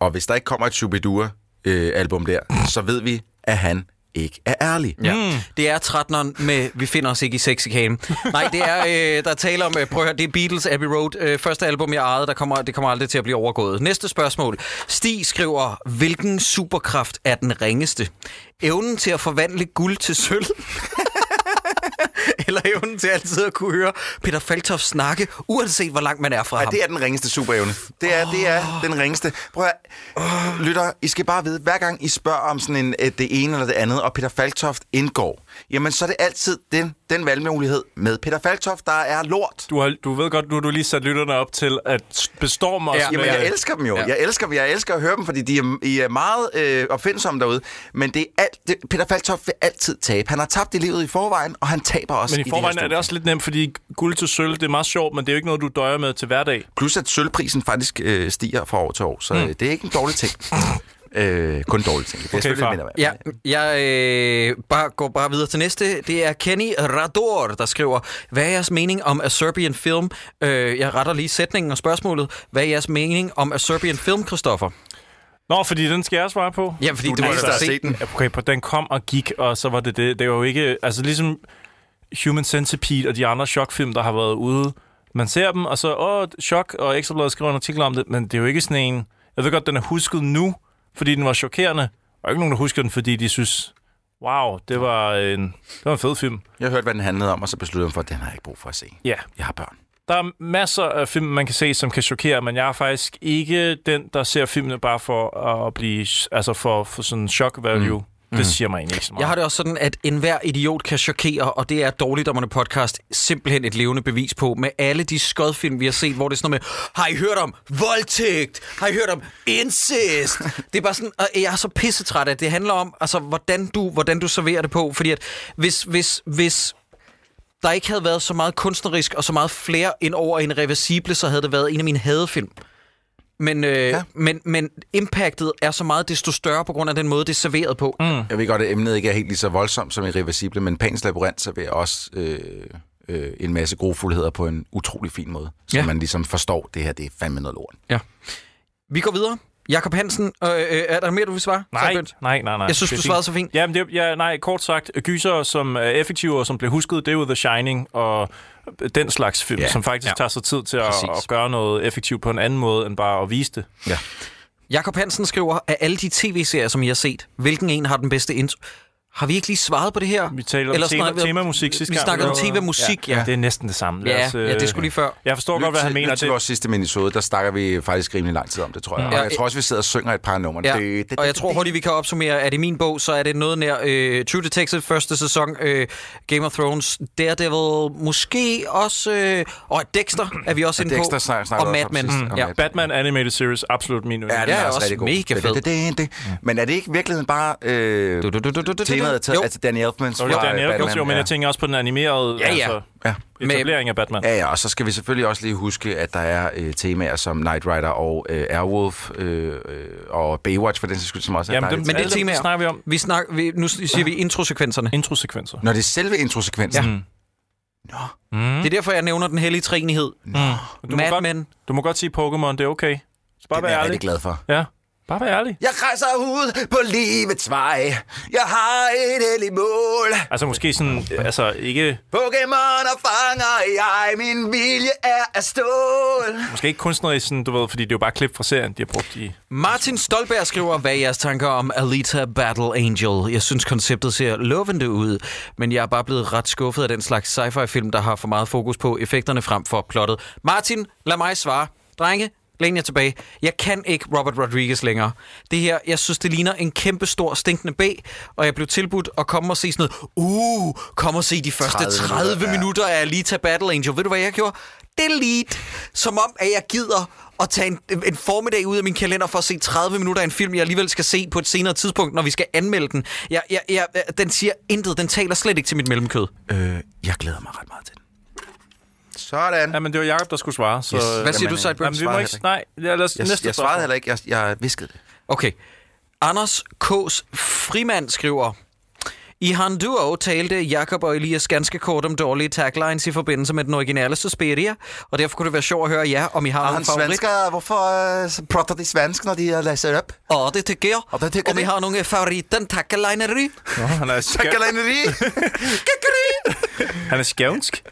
og hvis der ikke kommer et Shubidua-album der, så ved vi, at han ikke er ærlig. Ja. Mm. Det er 13'eren med Vi finder os ikke i sexikanen. Nej, det er, øh, der taler om, øh, prøv at høre, det er Beatles Abbey Road. Øh, første album, jeg ejede, der kommer, det kommer aldrig til at blive overgået. Næste spørgsmål. Stig skriver, hvilken superkraft er den ringeste? Evnen til at forvandle guld til sølv? Eller evnen til altid at kunne høre Peter Faltoff snakke, uanset hvor langt man er fra Nej, ham. det er den ringeste superevne. Det er, oh. det er den ringeste. Prøv at lytter, I skal bare vide, hver gang I spørger om sådan en, øh, det ene eller det andet, og Peter Faltoft indgår, jamen så er det altid den, den valgmulighed med Peter Faltoft, der er lort. Du, har, du ved godt, nu har du lige sat lytterne op til at bestorme os Ja, med... Jamen, jeg elsker dem jo. Ja. Jeg elsker dem. Jeg elsker at høre dem, fordi de er, I er meget øh, opfindsomme derude. Men det er alt, det, Peter Faltoft vil altid tabe. Han har tabt i livet i forvejen, og han taber også men i forvejen det her er det også lidt nemt, fordi guld til sølv, det er meget sjovt, men det er jo ikke noget, du døjer med til hverdag. Plus at sølvprisen faktisk øh, stiger fra år til år, Hmm. så mm. det er ikke en dårlig ting. øh, kun en dårlig ting. Det er okay, selvfølgelig far. mindre værd. Ja, jeg øh, bare, går bare videre til næste. Det er Kenny Rador, der skriver, hvad er jeres mening om A Serbian Film? Øh, jeg retter lige sætningen og spørgsmålet. Hvad er jeres mening om A Serbian Film, Christoffer? Nå, fordi den skal jeg svare på. Ja, fordi du, du må må altså altså have se set den. den. Okay, på den kom og gik, og så var det det. Det var jo ikke... Altså ligesom Human Centipede og de andre chokfilm, der har været ude. Man ser dem, og så... Åh, chok, og Ekstrabladet skriver en artikel om det. Men det er jo ikke sådan en... Jeg ved godt, den er husket nu, fordi den var chokerende. Og ikke nogen, der husker den, fordi de synes... Wow, det var en, det var en fed film. Jeg hørte, hvad den handlede om, og så besluttede jeg mig for, at den har jeg ikke brug for at se. Ja. Yeah. Jeg har børn. Der er masser af film, man kan se, som kan chokere, men jeg er faktisk ikke den, der ser filmene bare for at blive... Altså for, for sådan en shock value. Mm. Det siger mig egentlig ikke så meget. Jeg har det også sådan, at enhver idiot kan chokere, og det er Dårligdommerne podcast simpelthen et levende bevis på, med alle de skodfilm, vi har set, hvor det er sådan noget med, har I hørt om voldtægt? Har I hørt om incest? Det er bare sådan, og jeg er så pissetræt af, det. det handler om, altså, hvordan du, hvordan du serverer det på, fordi at hvis, hvis, hvis der ikke havde været så meget kunstnerisk og så meget flere ind over en reversible, så havde det været en af mine hadefilm. Men, øh, ja. men, men impactet er så meget desto større på grund af den måde, det er serveret på. Mm. Jeg ved godt, at emnet ikke er helt lige så voldsomt som i Reversible, men Pans Labyrinth serverer også øh, øh, en masse grofuldheder på en utrolig fin måde. Så ja. Ja. man ligesom forstår, det her det er fandme noget lort. Ja. Vi går videre. Jakob Hansen, øh, øh, er der mere, du vil svare? Så er Nej, det begyndt. nej, nej, nej. Jeg synes, Det er du fint. svarede så fint. Jamen, det, ja, nej, kort sagt, gyser, som er effektive og som bliver husket, det er jo The Shining og den slags film, Ja. ja. som faktisk Ja. ja. tager sig tid til at, Præcis. at gøre noget effektivt på en anden måde, end bare at vise det. Jakob Hansen skriver, af alle de tv-serier, som I har set, hvilken en har den bedste intro? Har vi ikke lige svaret på det her? Vi taler om Eller tema, snakker vi om- temamusik sidste vi gang. snakkede om Ja. temamusik, ja. Det er næsten det samme. Lad Ja, os, øh, ja, det skulle lige før. Jeg forstår godt, hvad han til, mener. lyt til Det- vores sidste minisode, der snakker vi faktisk rimelig lang tid om det, tror jeg. Mm. Ja. Og jeg tror også, vi sidder og synger et par numre. Ja. Det- det- det- og jeg tror det- hurtigt, vi kan opsummere, at i min bog, så er det noget nær øh, True Detective, første sæson, øh, Game of Thrones, Daredevil, måske også, øh, og Dexter er vi også inde Dexter på, snak- snakkede og også Mad om Men. sidst, og ja. Mad Men. Batman Animated Series, absolut min Ja, yndling. den Ja, er, også også rigtig god. mega fed. Det, det, det, det. Men er det ikke virkelig bare øh, Du, du, du, du, du, du, temaet til Jo. altså Danny Elfmans Og det er Daniel Elfman, jo, men ja. jeg tænker også på den animerede Ja, ja. altså, Ja. etablering af Batman. Ja, ja, og så skal vi selvfølgelig også lige huske, at der er øh, temaer som Knight Rider og øh, Airwolf øh, øh, og Baywatch, for den sags skyld, som også er Jamen, dejligt. dem, Men det alle dem temaer- snakker vi om. Vi snak, vi, nu siger vi introsekvenserne. Introsekvenser. Når det er selve introsekvensen, ja. Det er derfor, jeg nævner den hellige træenighed. Du, må Mad godt, Men. du må godt sige Pokémon, det er okay. Så bare den er jeg være rigtig ærlig. glad for. Ja, bare være ærlig. Jeg rejser ud på livets vej. Jeg har et heldigt mål. Altså måske sådan, øh, altså ikke, Pokémoner fanger jeg. Min vilje er af stål. måske ikke kunstnerisk, sådan, du ved, fordi det er jo bare klip fra serien, de har brugt i. Martin Stolberg skriver, hvad er jeres tanker om Alita Battle Angel? Jeg synes, konceptet ser lovende ud, men jeg er bare blevet ret skuffet af den slags sci-fi-film, der har for meget fokus på effekterne frem for plottet. Martin, lad mig svare. Drenge, læn jer tilbage. Jeg kan ikke Robert Rodriguez længere. Det her, jeg synes, det ligner en kæmpe stor stinkende bæ, og jeg blev tilbudt at komme og se sådan noget, uh, kom og se de første 30 30, minutter, 30 minutter af Alita Battle Angel. Ved du, hvad jeg gjorde? Delete. Som om, at jeg gider at tage en, en formiddag ud af min kalender for at se 30 minutter af en film, jeg alligevel skal se på et senere tidspunkt, når vi skal anmelde den. Jeg, jeg, jeg, den siger intet. Den taler slet ikke til mit mellemkød. Øh, jeg glæder mig ret meget til den. Sådan. Jamen, det var Jacob, der skulle svare. Så, Yes. øh, Hvad siger Jamen, du, Sideburns? Jamen, vi må svarede ikke... Nej, ja, lad os, Jeg, næste jeg svarede heller ikke. Jeg, jeg viskede det. Okay. Anders K's Frimand skriver... I Han Duo talte Jakob og Elias ganske kort om dårlige taglines i forbindelse med den originale Suspiria, og derfor kunne det være sjovt at høre jer, om I har Han nogle favorit. svensker, hvorfor øh, prater de svensk, når de øh, læser op? Og det tykker jeg. Og det tykker om I vi. har nogle favorit den taglineri. Nå, han er, skæv, Galaneri! han er skævnsk.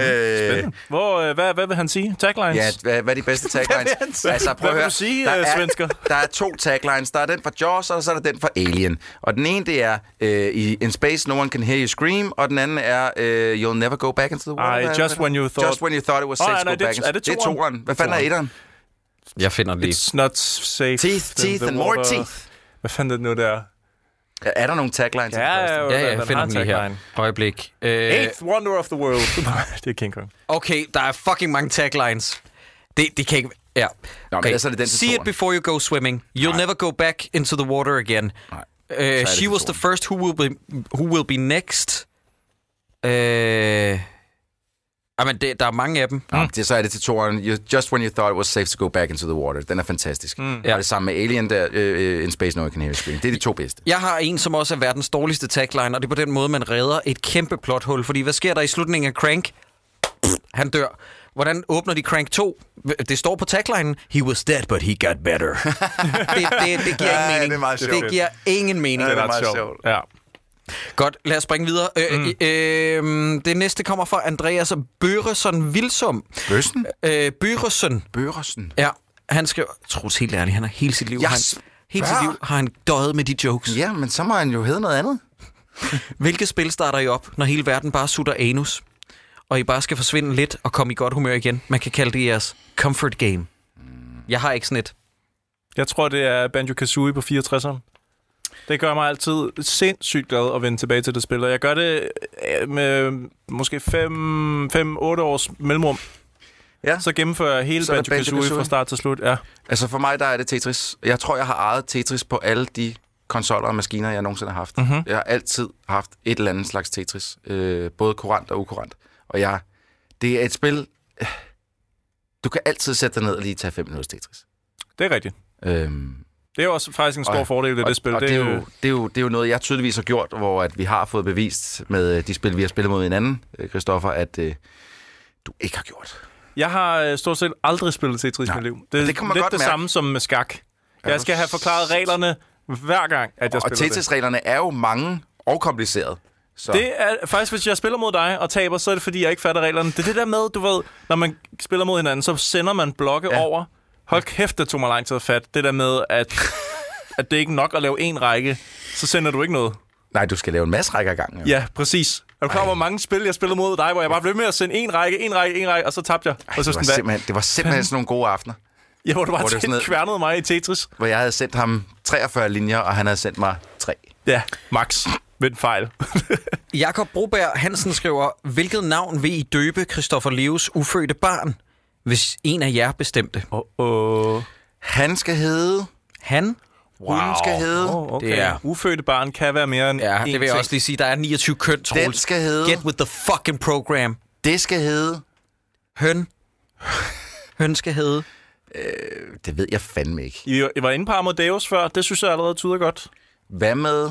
Øh. Hvor, øh, hvad, hvad vil han sige? Taglines? Ja, hvad, hvad er de bedste taglines? Altså, Hvad vil han sige? at Hvad vil du sige, høre. der øh, er, svensker? Der er to taglines. Der er den fra Jaws, og så er der den fra Alien. Og den ene, det er øh, i In Space, No One Can Hear You Scream, og den anden er øh, You'll Never Go Back Into the Water. Ej, Hvad- Just hvad- When You Thought- Just When You Thought It Was Åh, nej, Safe to Go nej, det er- Back Into- er det Det er toeren? toeren. Hvad fanden er Toeren. etteren? Jeg finder den lige. It's not safe. Teeth, than teeth the and more water. teeth. Hvad fanden er det nu der? Er- Er der nogle taglines? i den Ja, første? ja, Ja, ja, jeg finder den lige her. Øjeblik. Øh, Eighth wonder of the world. det er King Kong. okay, der er fucking mange taglines. Det, det kan ikke... Ja. men Okay. ellers er det den til See it toeren. before you go swimming. You'll never go back into the water again. Nej. Uh, det she til was the toeren. first who will be, who will be next. Uh, jamen, det, der er mange af dem. Nå, mm. det, så er det til toeren. You, just when you thought it was safe to go back into the water. Den er fantastisk. Mm. Ja. Og det samme med Alien der, øh, øh, In Space, No One Can Hear You Scream. Det er de to bedste. Jeg har en, som også er verdens dårligste tagline, og det er på den måde, man redder et kæmpe plothul. Fordi hvad sker der i slutningen af Crank? Han dør. Hvordan åbner de Crank 2? Det står på taglinen, He was dead, but he got better. det, det, det giver ingen Ja, mening. det er meget sjovt. det giver ingen mening. Det er meget sjovt. Ja. Godt, lad os springe videre. Øh, mm. øh, det næste kommer fra Andreas Børesson Vilsum. Bøssen? Øh, Børesson, Børesen. ja, han skriver... Trods helt ærligt, han har hele sit liv... Jeg har han, hele sit spørger. liv har han døjet med de jokes. Ja, men så må han jo hedde noget andet. Hvilket spil starter I op, når hele verden bare sutter anus? Og I bare skal forsvinde lidt og komme i godt humør igen. Man kan kalde det jeres comfort game. Jeg har ikke sådan et. Jeg tror, det er Banjo-Kazooie på 64'eren. Det gør mig altid sindssygt glad at vende tilbage til det spil, og jeg gør det øh, med måske 5-8 års mellemrum. Ja. Så gennemfører jeg hele Så er der Banjo-Kazooie Banjo-Kazooie. fra start til slut. Ja. Altså for mig, der er det Tetris. Jeg tror, jeg har ejet Tetris på alle de konsoller og maskiner, jeg nogensinde har haft. Mm-hmm. Jeg har altid haft et eller andet slags Tetris. Øh, både kurant og ukurant. Og jeg, det er et spil... øh, Du kan altid sætte dig ned og lige tage 5 minutters Tetris. Det er rigtigt. Øhm, Det er jo også faktisk en stor Og- fordel ved det spil. og det, er jo, det, er jo, det er jo noget, jeg tydeligvis har gjort, hvor at vi har fået bevist med øh, de spil, vi har spillet mod hinanden, øh, Christoffer, at øh, du ikke har gjort. Jeg har øh, stort set aldrig spillet Tetris i mit liv. Det er Og det kan man lidt godt det mærke. samme som med skak. Jeg skal have forklaret reglerne hver gang, at jeg Og spiller det. Tetris-reglerne er jo mange og komplicerede. Så Det er faktisk, hvis jeg spiller mod dig og taber, så er det fordi, jeg ikke fatter reglerne. Det er det der med, du ved, når man spiller mod hinanden, så sender man blokke ja. over. Hold kæft, det tog mig lang tid at fatte. Det der med, at, at det ikke er nok at lave en række, så sender du ikke noget. Nej, du skal lave en masse rækker ad gangen. jo. Ja, præcis. Er du klar, over, hvor mange spil, jeg spillede mod dig, hvor jeg bare blev ved med at sende en række, en række, en række, og så tabte jeg. og så Det var, sådan, hvad? simpelthen, det var simpelthen sådan nogle gode aftener, Ja, hvor du bare hvor det var sådan hvor noget- kværnede mig i Tetris. hvor jeg havde sendt ham 43 linjer, og han havde sendt mig 3. Ja, max. Ved en fejl. Jakob Broberg Hansen skriver, hvilket navn vil I døbe Christoffer Leves ufødte barn, hvis en af jer bestemte? Uh, Han skal hedde... Han? Wow. Hun skal hedde... Oh. oh, okay. Det det er- er... Ufødte barn kan være mere end Ja, én det vil jeg ting. også lige sige. Der er 29 køn, Troels. Den skal hedde... Get with the fucking program. Det skal hedde... Høn. Høn skal hedde. Det ved jeg fandme ikke. I I var inde på Amadeus før. Det synes jeg allerede tyder godt. Hvad med...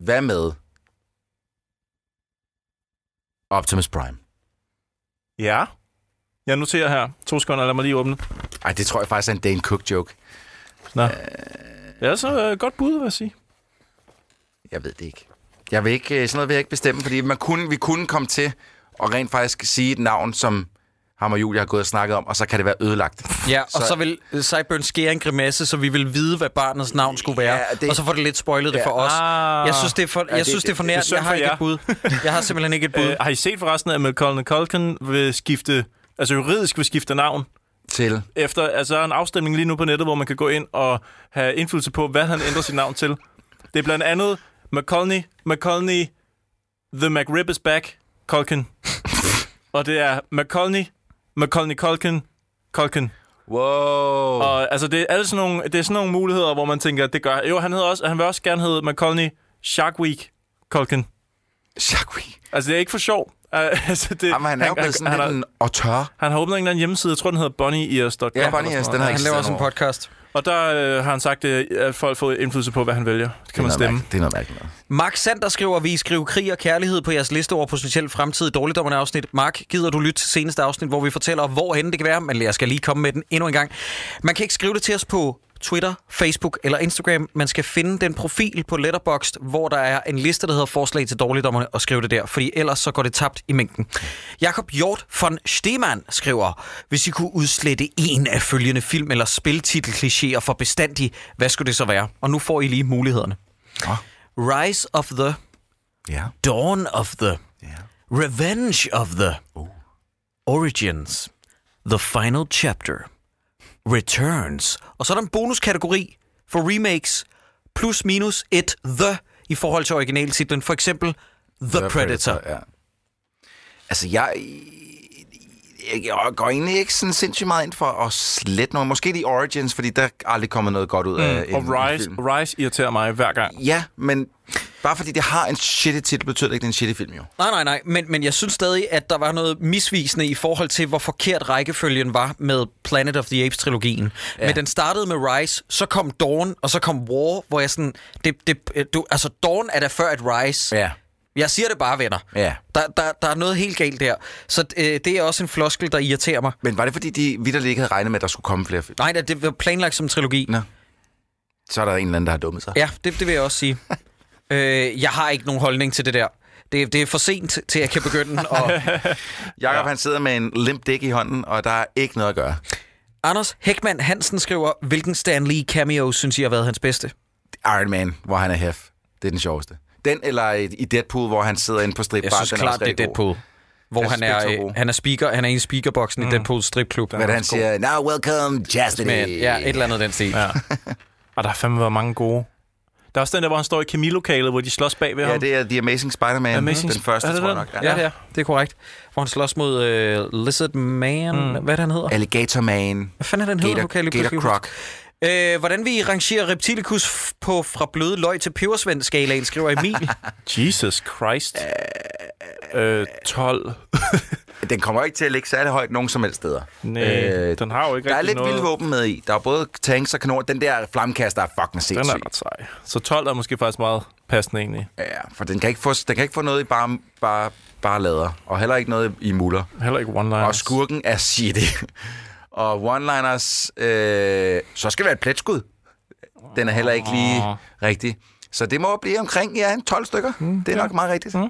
Hvad med... Optimus Prime. Ja. Jeg noterer her. To sekunder, lad mig lige åbne. Ej, det tror jeg faktisk er en Dane Cook-joke. Nå. Ja, så øh, godt bud, vil jeg sige. Jeg ved det ikke. Jeg vil ikke, øh, sådan noget vil jeg ikke bestemme, fordi man kunne, vi kunne komme til at rent faktisk sige et navn, som ham og Julie har gået og snakket om, og så kan det være ødelagt. Ja, og så, Så- så vil øh, Sideburn skære en grimasse, så vi vil vide, hvad barnets navn skulle være. Ja, Ja, det... det- Og så får det lidt spoilet det for os. Ah. Jeg synes, det er for, jeg det- synes, det er for det- det er nært. synd Jeg har for ikke jer. et bud. Jeg har simpelthen ikke et bud. Øh, har I set forresten, at Macaulay Culkin vil skifte, altså juridisk vil skifte navn? Til Efter, altså der er en afstemning lige nu på nettet, hvor man kan gå ind og have indflydelse på, hvad han ændrer sit navn til. Det er blandt andet Macaulay, Macaulay, The McRib is back, Culkin. og det er Macaulay, Macaulay Culkin, Culkin. Wow. Og altså, det er, alle sådan nogle, det er sådan nogle muligheder, hvor man tænker, det gør... Jo, han, hedder også, han vil også gerne hedde McConaughey Shark Week Culkin. Shaggy. Altså, det er ikke for sjov. Uh, altså, det, Jamen, han er jo blevet sådan han, lidt han, en auteur. har, han har åbnet en eller anden hjemmeside, jeg tror, den hedder BunnyEars.com. Ja, Bonnie eller sådan Hest, den har noget. Han ikke laver også en podcast. Og der øh, har han sagt, øh, at folk får indflydelse på, hvad han vælger. Det kan man stemme. Det er noget mærkeligt noget. Mark Sander skriver, vi skriver krig og kærlighed på jeres liste over potentielt fremtidige dårligdommerne afsnit. Mark, gider du lytte til seneste afsnit, hvor vi fortæller, hvorhen det kan være? Men jeg skal lige komme med den endnu en gang. Man kan ikke skrive det til os på Twitter, Facebook eller Instagram. Man skal finde den profil på Letterboxd, hvor der er en liste, der hedder forslag til dårligdommerne, og skrive det der, fordi ellers så går det tabt i mængden. Jakob Hjort von Stemann skriver, hvis I kunne udslette en af følgende film- eller spiltitelklichéer for bestandig, hvad skulle det så være? Og nu får I lige mulighederne. Rise of the, Ja. Dawn of the, Ja. Revenge of the, Origins, The Final Chapter, Returns. Og så er der en bonuskategori for remakes, plus minus et the i forhold til originaltitlen. For eksempel The, the Predator. Predator. Ja. Altså, jeg, jeg går egentlig ikke sådan sindssygt meget ind for at slette noget. Måske de Origins, fordi der er aldrig kommet noget godt ud af mm, en, Og Rise, en film. Rise irriterer mig hver gang. Ja, men bare fordi det har en shitty titel, betyder det ikke, det er en shitty film, jo. Nej, nej, nej, men, men jeg synes stadig, at der var noget misvisende i forhold til, hvor forkert rækkefølgen var med Planet of the Apes-trilogien. Ja. Men den startede med Rise, så kom Dawn, og så kom War, hvor jeg sådan... Det, det, du, altså, Dawn er da før at Rise. Ja. Jeg siger det bare, venner. Ja. Der, der, der er noget helt galt der. Så øh, det er også en floskel, der irriterer mig. Men var det, fordi de vidderligt ikke havde regnet med, at der skulle komme flere film? Nej, da, det var planlagt som en trilogi. Nå. Så er der en eller anden, der har dummet sig. Ja, det, det vil jeg også sige. øh, jeg har ikke nogen holdning til det der. Det, det er for sent til, at jeg kan begynde at... Jakob, ja. han sidder med en limp dæk i hånden, og der er ikke noget at gøre. Anders Hækman Hansen skriver, hvilken Stan Lee cameo synes I har været hans bedste? Iron Man, hvor han er hef. Det er den sjoveste. Den eller i i Deadpool, hvor han sidder inde på Jeg stripbar. synes den klart, også det er rigtig god. Deadpool. Hvor Jeg han synes, begge to er, er øh, gode. han er speaker, han er inde i speakerboksen mm. i Deadpools stripklub. Hvad er det, han siger? Now welcome, Chastity. Men, ja, et eller andet af den stil. Ja. Ja. Og der har fandme været mange gode. Der er også den der, hvor han står i kemilokalet, hvor de slås bag ved Ja, ham. det er The Amazing Spider-Man. Amazing den første, Sp- er det tror jeg den? nok. Ja. Ja, det er, det er korrekt. Hvor han slås mod øh, Lizard Man. Mm. Hvad er det, han hedder? Alligator Man. Hvad fanden er den hedder? Gator, Nu kan jeg lige Gator pludselig Croc. huske. Øh, hvordan vi rangerer Reptilicus f- på fra bløde løg til pebersvend-skalaen, skriver Emil. Jesus Christ. Øh, 12. Den kommer ikke til at ligge særlig højt nogen som helst steder. Øh, Nej, den har jo ikke Der er rigtig lidt noget. vildvåben med i. Der er både tanks og kanoner. Den der flammekaster er fucking Den er sindssyg. ret sej. Så 12 er måske faktisk meget passende egentlig. Ja, for den kan ikke få, den kan ikke få noget i bare, bare, bare lader. Og heller ikke noget i muller. Heller ikke one-liners. Og skurken er shitty. og one-liners... Øh, så skal det være et pletskud. Den er heller ikke lige rigtig. Så det må blive omkring, ja, en 12 stykker. Mm, det er nok meget rigtigt. Mm.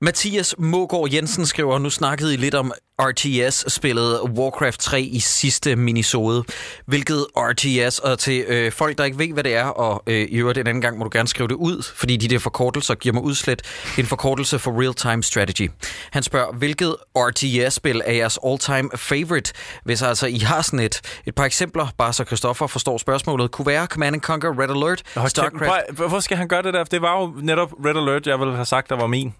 Mathias Mågaard Jensen skriver, nu snakkede I lidt om RTS-spillet Warcraft 3 i sidste minisode. Hvilket RTS, og til øh, folk, der ikke ved, hvad det er, og øh, i øvrigt en anden gang må du gerne skrive det ud, fordi de der forkortelser giver mig udslet en forkortelse for Real Time Strategy. Han spørger, hvilket RTS-spil er jeres all-time favorite, hvis altså I har sådan et. Et par eksempler, bare så Christoffer forstår spørgsmålet, kunne være Command and Conquer, Red Alert, Hold kæft, StarCraft. prøv, hvorfor skal han gøre det der? For Det var jo netop Red Alert, jeg ville have sagt, der var min.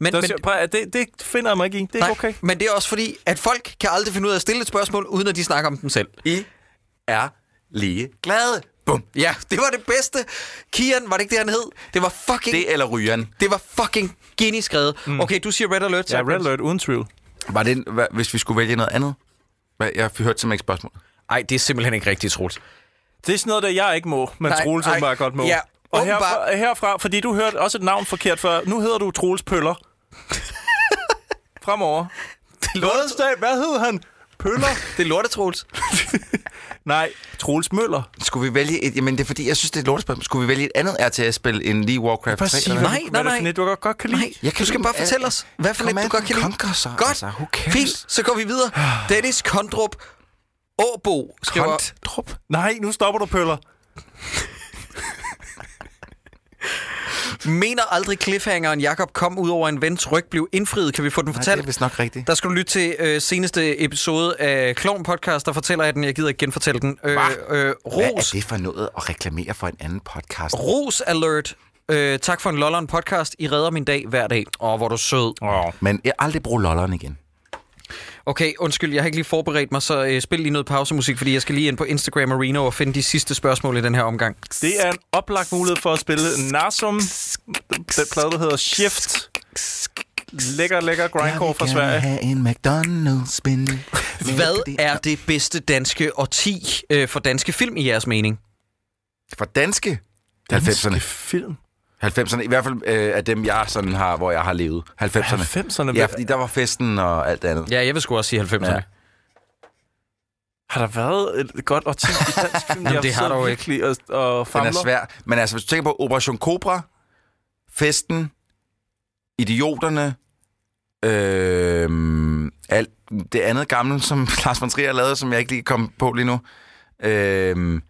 Men, Men, men, prøv, det, det finder jeg mig ikke i. Det er Nej, ikke okay. men det er også fordi, at folk kan aldrig finde ud af at stille et spørgsmål, uden at de snakker om dem selv. I er lige glade. Bum. Ja, det var det bedste. Kian, var det ikke det, han hed? Det var fucking... Det, Det eller rygeren. det var fucking geniskrevet. Mm. Okay, du siger Red Alert. Ja, Simon. Red Alert, uden tvivl. Var det, en- hvad, hvis vi skulle vælge noget andet? Hvad, jeg har hørt simpelthen ikke spørgsmål. Ej, det er simpelthen ikke rigtigt, Troels. Det er sådan noget, der jeg ikke må, men Nej, Troels nej. bare godt må. Ja, og åbenbart. herfra, herfra, fordi du hørte også et navn forkert før. Nu hedder du Troels Pøller. Fremover. Lortestad, hvad hed han? Pøller? Det er lortet, Troels. Nej, Troels Møller. Skulle vi vælge et... Jamen, det er fordi, jeg synes, det er et lortespørgsmål. Skulle vi vælge et andet RTS-spil end lige Warcraft 3? Bare sig, eller hvad hvad? Nej, du- nej, hvad nej. det for et, du godt, godt kan lide. Nej, jeg kan du skal bare fortælle os, hvad for Command lidt du godt kan lide. Conquer så, altså, who cares? Ah. Fint, så går vi videre. Dennis Kondrup Åbo skriver... Kontrup. Nej, nu stopper du, Pøller. Mener aldrig cliffhangeren Jakob kom ud over en vens ryg blev indfriet? Kan vi få den Nej, det fortalt? er vist nok rigtigt. Der skal du lytte til øh, seneste episode af Klovn Podcast, der fortæller jeg den. Jeg gider ikke genfortælle den. Øh, øh, Hvad er ros, det for noget at reklamere for en anden podcast? ros alert. Øh, tak for en lolleren podcast. I redder min dag hver dag. Åh, hvor er du sød. Oh. Men jeg aldrig bruge lolleren igen. Okay, undskyld, jeg har ikke lige forberedt mig, så øh, spil lige noget pausemusik, fordi jeg skal lige ind på Instagram Arena og finde de sidste spørgsmål i den her omgang. Det er en oplagt mulighed for at spille Narsum. Den plade, der hedder Shift. Lækker, lækker grindcore fra Sverige. have en McDonald's spin. Hvad er det bedste danske årti øh, for danske film i jeres mening? For danske 90'erne. film. 90'erne, i hvert fald øh, af dem, jeg sådan har, hvor jeg har levet. 90'erne. 90'erne. Ja, fordi der var festen og alt det andet. Ja, jeg vil sgu også sige 90'erne. Ja. Ja. Har der været et godt årti i dansk film? Jamen, det har der jo ikke. ikke. Og, og Den famler. er svær. Men altså, hvis du tænker på Operation Cobra, festen, idioterne, øh, alt det andet gamle, som Lars von Trier lavede, som jeg ikke lige kom på lige nu. Øh,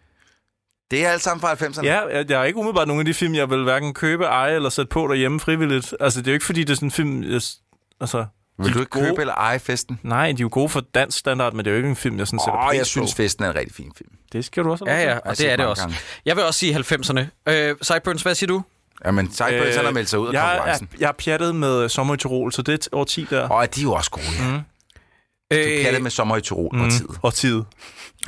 det er alt sammen fra 90'erne. Ja, jeg- jeg har ikke umiddelbart nogen af de film, jeg vil hverken købe, eje eller sætte på derhjemme frivilligt. Altså, det er jo ikke, fordi det er sådan en film... Jeg, s- altså, de Vil du er ikke købe gode- eller eje festen? Nej, de er jo gode for dansk standard, men det er jo ikke en film, jeg sådan sætter Åh, pris jeg synes, på. festen er en rigtig fin film. Det skal du også have Ja, ja, lov til. og har det set er det mange også. gange. Jeg vil også sige 90'erne. Øh, Sideburns, hvad siger du? Jamen, Sideburns, øh, han har meldt sig ud af jeg, konkurrencen. er, jeg er pjattet med øh, Sommer i Tirol, så det er et årti der. Og de er jo også gode, ja. Mm. Du Øh, kan det med sommer i Tirol Øh, mm. og tid. Årtiet.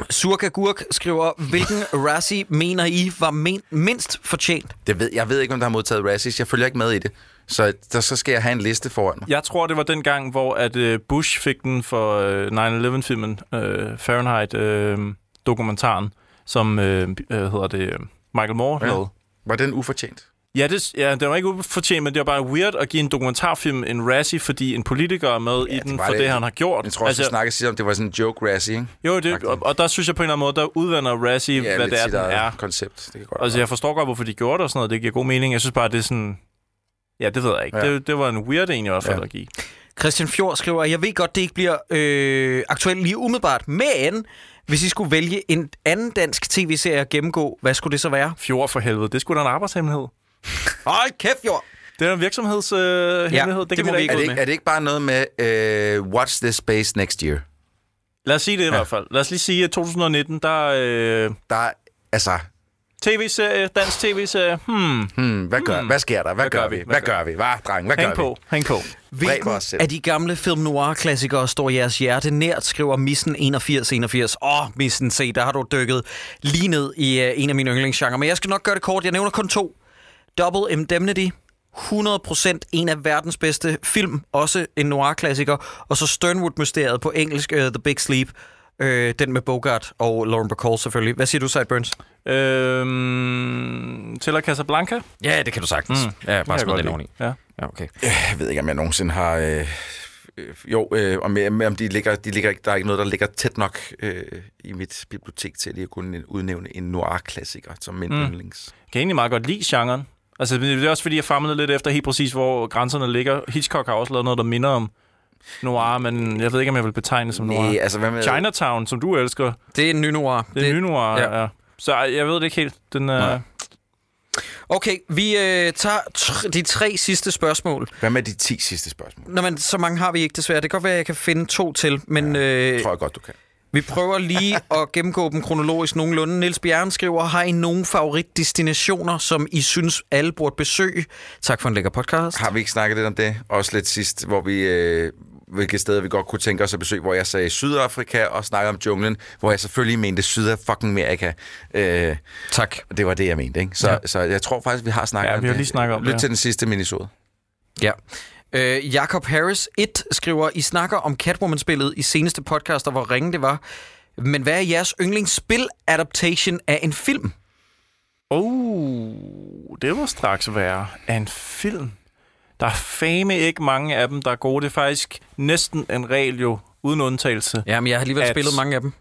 Surka Gurk skriver, hvilken Razzie mener I var men- mindst fortjent? Det ved, jeg ved ikke, om der har modtaget Razzies. Jeg følger ikke med i det. Så der, så skal jeg have en liste foran mig. Jeg tror, det var den gang, hvor at øh, Bush fik den for øh, 9-11-filmen, øh, Fahrenheit-dokumentaren, som øh, øh, hedder det, øh, Michael Moore Ja. lavede. Var den ufortjent? Ja, det, ja, det var ikke ufortjent, men det var bare weird at give en dokumentarfilm en Razzie, fordi en politiker er med ja, i det den var for det, det. han har gjort. Jeg tror også, altså, vi snakkede sidst om, det var sådan en joke Razzie, ikke? jo, det, og, og der synes jeg på en eller anden måde, der udvander Razzie, ja, hvad lidt det er, sit den eget er. koncept. Det kan godt Altså, være. jeg forstår godt, hvorfor de gjorde det og sådan noget. Det giver god mening. Jeg synes bare, det er sådan... Ja, det ved jeg ikke. Ja. Ja. Det, det var en weird en i hvert fald Ja. at give. Christian Fjord skriver, jeg ved godt, det ikke bliver øh, aktuelt lige umiddelbart, men hvis I skulle vælge en anden dansk tv-serie at gennemgå, hvad skulle det så være? Fjord for helvede. Det skulle da en arbejdshemmelighed. Hold kæft, Fjord! Det er en virksomheds øh, hemmelighed. det kan må vi da vi ikke er, ud det ikke. ikke, er det ikke bare noget med øh, Watch This Space Next Year? Lad os sige det i hvert fald. Lad os lige sige, at 2019, der er øh, Der er, altså, tv-serie, dansk tv-serie. Hmm, hmm, hvad, gør, hvad sker der? Hvad, hvad gør, vi? Hvad gør vi? Hvad, dreng? Hvad hæng gør på, vi? hæng på. Hvilken os selv. af de gamle film noir-klassikere står jeres hjerte nært, skriver Missen 8181. Åh, oh, Missen, se, der har du dykket lige ned i uh, en af mine yndlingsgenre. Men jeg skal nok gøre det kort. Jeg nævner kun to. Double Indemnity. 100% en af verdens bedste film. Også en noir-klassiker. Og så Sternwood-mysteriet på engelsk, uh, The Big Sleep. Uh, den med Bogart og Lauren Bacall selvfølgelig. Hvad siger du, Sideburns? Øhm, til Casablanca. Hmm. Ja, det kan du sagtens. Mm. Ja, kan jeg godt lide. Ja. Ja, okay. Jeg ved ikke, om jeg nogensinde har... Øh, øh, jo, øh, om, jeg- om de ligger, de ligger, ikke- der er ikke noget, der ligger tæt nok øh, i mit bibliotek til lige at kunne udnævne en noir-klassiker som min mm. yndlings. Jeg kan egentlig meget godt lide genren. Altså, men det er også fordi, jeg famlede lidt efter helt præcis, hvor grænserne ligger. Hitchcock har også lavet noget, der minder om noir, men jeg ved ikke, om jeg vil betegne det som noir. Næh, altså, hvad med... Chinatown, som du elsker, øh. Det er en ny noir. det er ny noir. ja. Ja. Ja. Så ej, jeg ved det ikke helt. Den, øh, Okay, vi øh, tager tr- de tre sidste spørgsmål. Hvad med de 10 sidste spørgsmål? Nå, men så mange har vi ikke desværre. Det kan godt være, at jeg kan finde to til, men øh, Det tror jeg godt, du kan. vi prøver lige at gennemgå dem kronologisk nogenlunde. Niels Bjerren skriver, har I nogen favoritdestinationer, som I synes, alle burde besøge? Tak for en lækker podcast. Har vi ikke snakket lidt om det? Også lidt sidst, hvor vi... Øh, hvilke steder vi godt kunne tænke os at besøge, hvor jeg sagde Sydafrika og snakkede om junglen, hvor jeg selvfølgelig mente Sydafrika. Øh, Tak. det var det, jeg mente, ikke? Så, Ja. ja. så jeg tror faktisk, vi har snakket Ja, om vi har det. lige snakket om det, Lyt ja. til den sidste minisode. Ja. Øh, Jacob Harris 1 skriver, I snakker om Catwoman-spillet i seneste podcast, og hvor ringe det var. Men hvad er jeres yndlingsspil-adaptation af en film? oh, det var straks værre. Af en film. Der er fame ikke mange af dem, der er gode. Det er faktisk næsten en regel jo, uden undtagelse. Jamen, jeg har alligevel At- spillet mange af dem.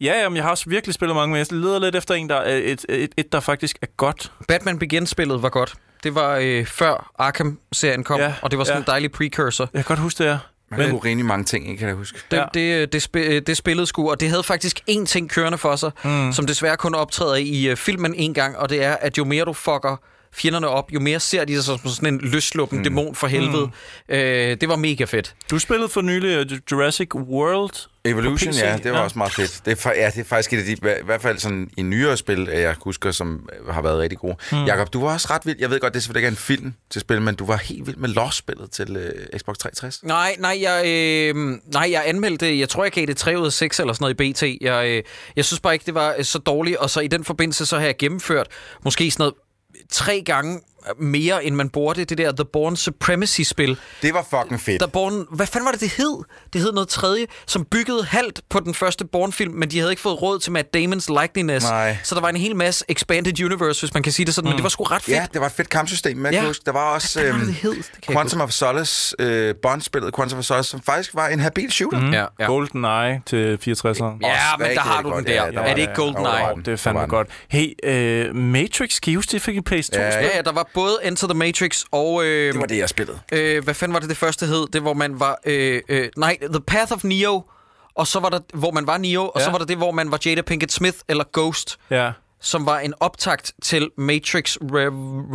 Ja, jamen, jeg har også virkelig spillet mange, men jeg leder lidt efter en, der er et, et, et der faktisk er godt. Batman Begins-spillet var godt. Det var øh, før Arkham-serien kom, ja, Ja, og det var sådan ja. ja. en dejlig precursor. Jeg kan godt huske det her. Man men, kunne rimelig mange ting, ikke, kan jeg huske. Det, ja. Ja. det, øh, det, spi- øh, det spillede sgu, og det havde faktisk én ting kørende for sig, mm. som desværre kun optræder i øh, filmen en gang, og det er, at jo mere du fucker fjenderne op, jo mere ser de sig som sådan en løsluppen mm. dæmon for helvede. Mm. Øh, det var mega fedt. Du spillede for nylig øh, Jurassic World. Evolution, PC, ja, det var nå. også meget fedt. Det er, fa- ja, det er faktisk et af de, hva- i hvert fald sådan en nyere spil, øh, jeg husker, som øh, har været rigtig gode. Hmm. Mm. Jakob, du var også ret vild. Jeg ved godt, det er selvfølgelig ikke en film til spil, men du var helt vild med Lost-spillet til øh, Xbox 360. Nej, nej, jeg, øh, nej, jeg anmeldte, jeg tror, jeg gav det 3 ud af 6 eller sådan noget i BT. Jeg, øh, jeg synes bare ikke, det var øh, så dårligt, og så i den forbindelse, så har jeg gennemført måske sådan noget tre gange mere, end man burde det der The Born Supremacy-spil. Det var fucking fedt. Der Born, hvad fanden var det, det hed? Det hed noget tredje, som byggede halvt på den første Born-film, men de havde ikke fået råd til Matt Damon's likeliness. Nej. Så der var en hel masse Expanded Universe, hvis man kan sige det sådan, mm. men det var sgu ret fedt. Ja, det var et fedt kampsystem, men Ja. ja. Der var også Hvad øh, var det, det hed? Det kan jeg ikke Quantum of Solace, øh, Bond-spillet Quantum of Solace, som faktisk var en habil shooter. Mm. Ja, ja. Golden Eye til 64'eren. Ja, men der rigtig har du den godt. der. Ja, Ja, der der var er det det. ikke Der var GoldenEye? Det den. er Der var fandme den. godt. Hey, øh, Matrix, kan I huske, det fik i PS2? Ja, Ja, Ja, ja, der var både Enter the Matrix og... Øh, Det var det, jeg spillede. øh, hvad fanden var det, det første hed? Det, hvor man var... Øh, øh, nej, The Path of Neo, og så var der, hvor man var Neo, og Ja. så var der det, hvor man var Jada Pinkett Smith eller Ghost, ja. som var en optakt til Matrix Re-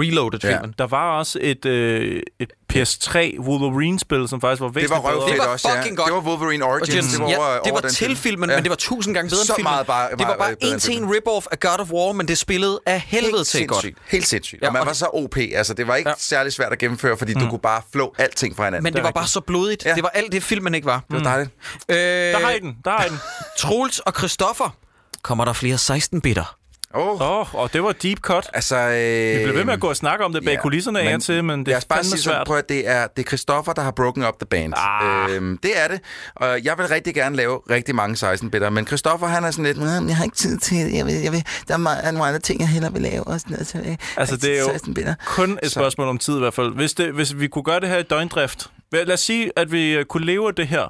Reloaded-filmen. Der var også et, øh, et PS3 Wolverine-spil, som faktisk var Det væsentligt var bedre. røvfedt Det var også, ja. fucking godt. Det var Wolverine Origins. det var, over, ja, det over var den til film. filmen, ja. men det var tusind gange bedre Så end filmen. meget bare- det var meget bare bedre en end til en filmen. rip-off af God of War, men det spillede af helvede til godt. sindssygt. Helt sindssygt. Ja, og man og var så OP, altså det var ikke Ja. ja. særlig svært at gennemføre, fordi mm. du kunne bare flå alting fra hinanden. Men det, var bare så blodigt. Ja. Ja. Det var alt det, filmen ikke var. Det var dejligt. Øh, Der har I den, der har I den. Troels og Christoffer. Kommer der flere 16-bitter? Åh, oh, Åh, oh, og det var deep cut. altså... Øh, Vi blev ved med at gå og snakke om det bag ja, kulisserne af men og til, men det Lad er os bare fandme sige sådan, svært. prøv at det er, det er Christoffer, der har broken up the band. Ah. Øhm, det er det, og jeg vil rigtig gerne lave rigtig mange 16-bitter, men Christoffer, han er sådan lidt, "Mm, jeg har ikke tid til det, jeg vil, jeg vil, der er meget, nogle andre ting, jeg hellere vil lave. Og sådan noget, så, jeg har Altså, ikke tid det er til jo 16-bitter." kun et Så- spørgsmål om tid i hvert fald. Hvis, det, hvis vi kunne gøre det her i døgndrift, lad os sige, at vi øh, kunne leve af det her,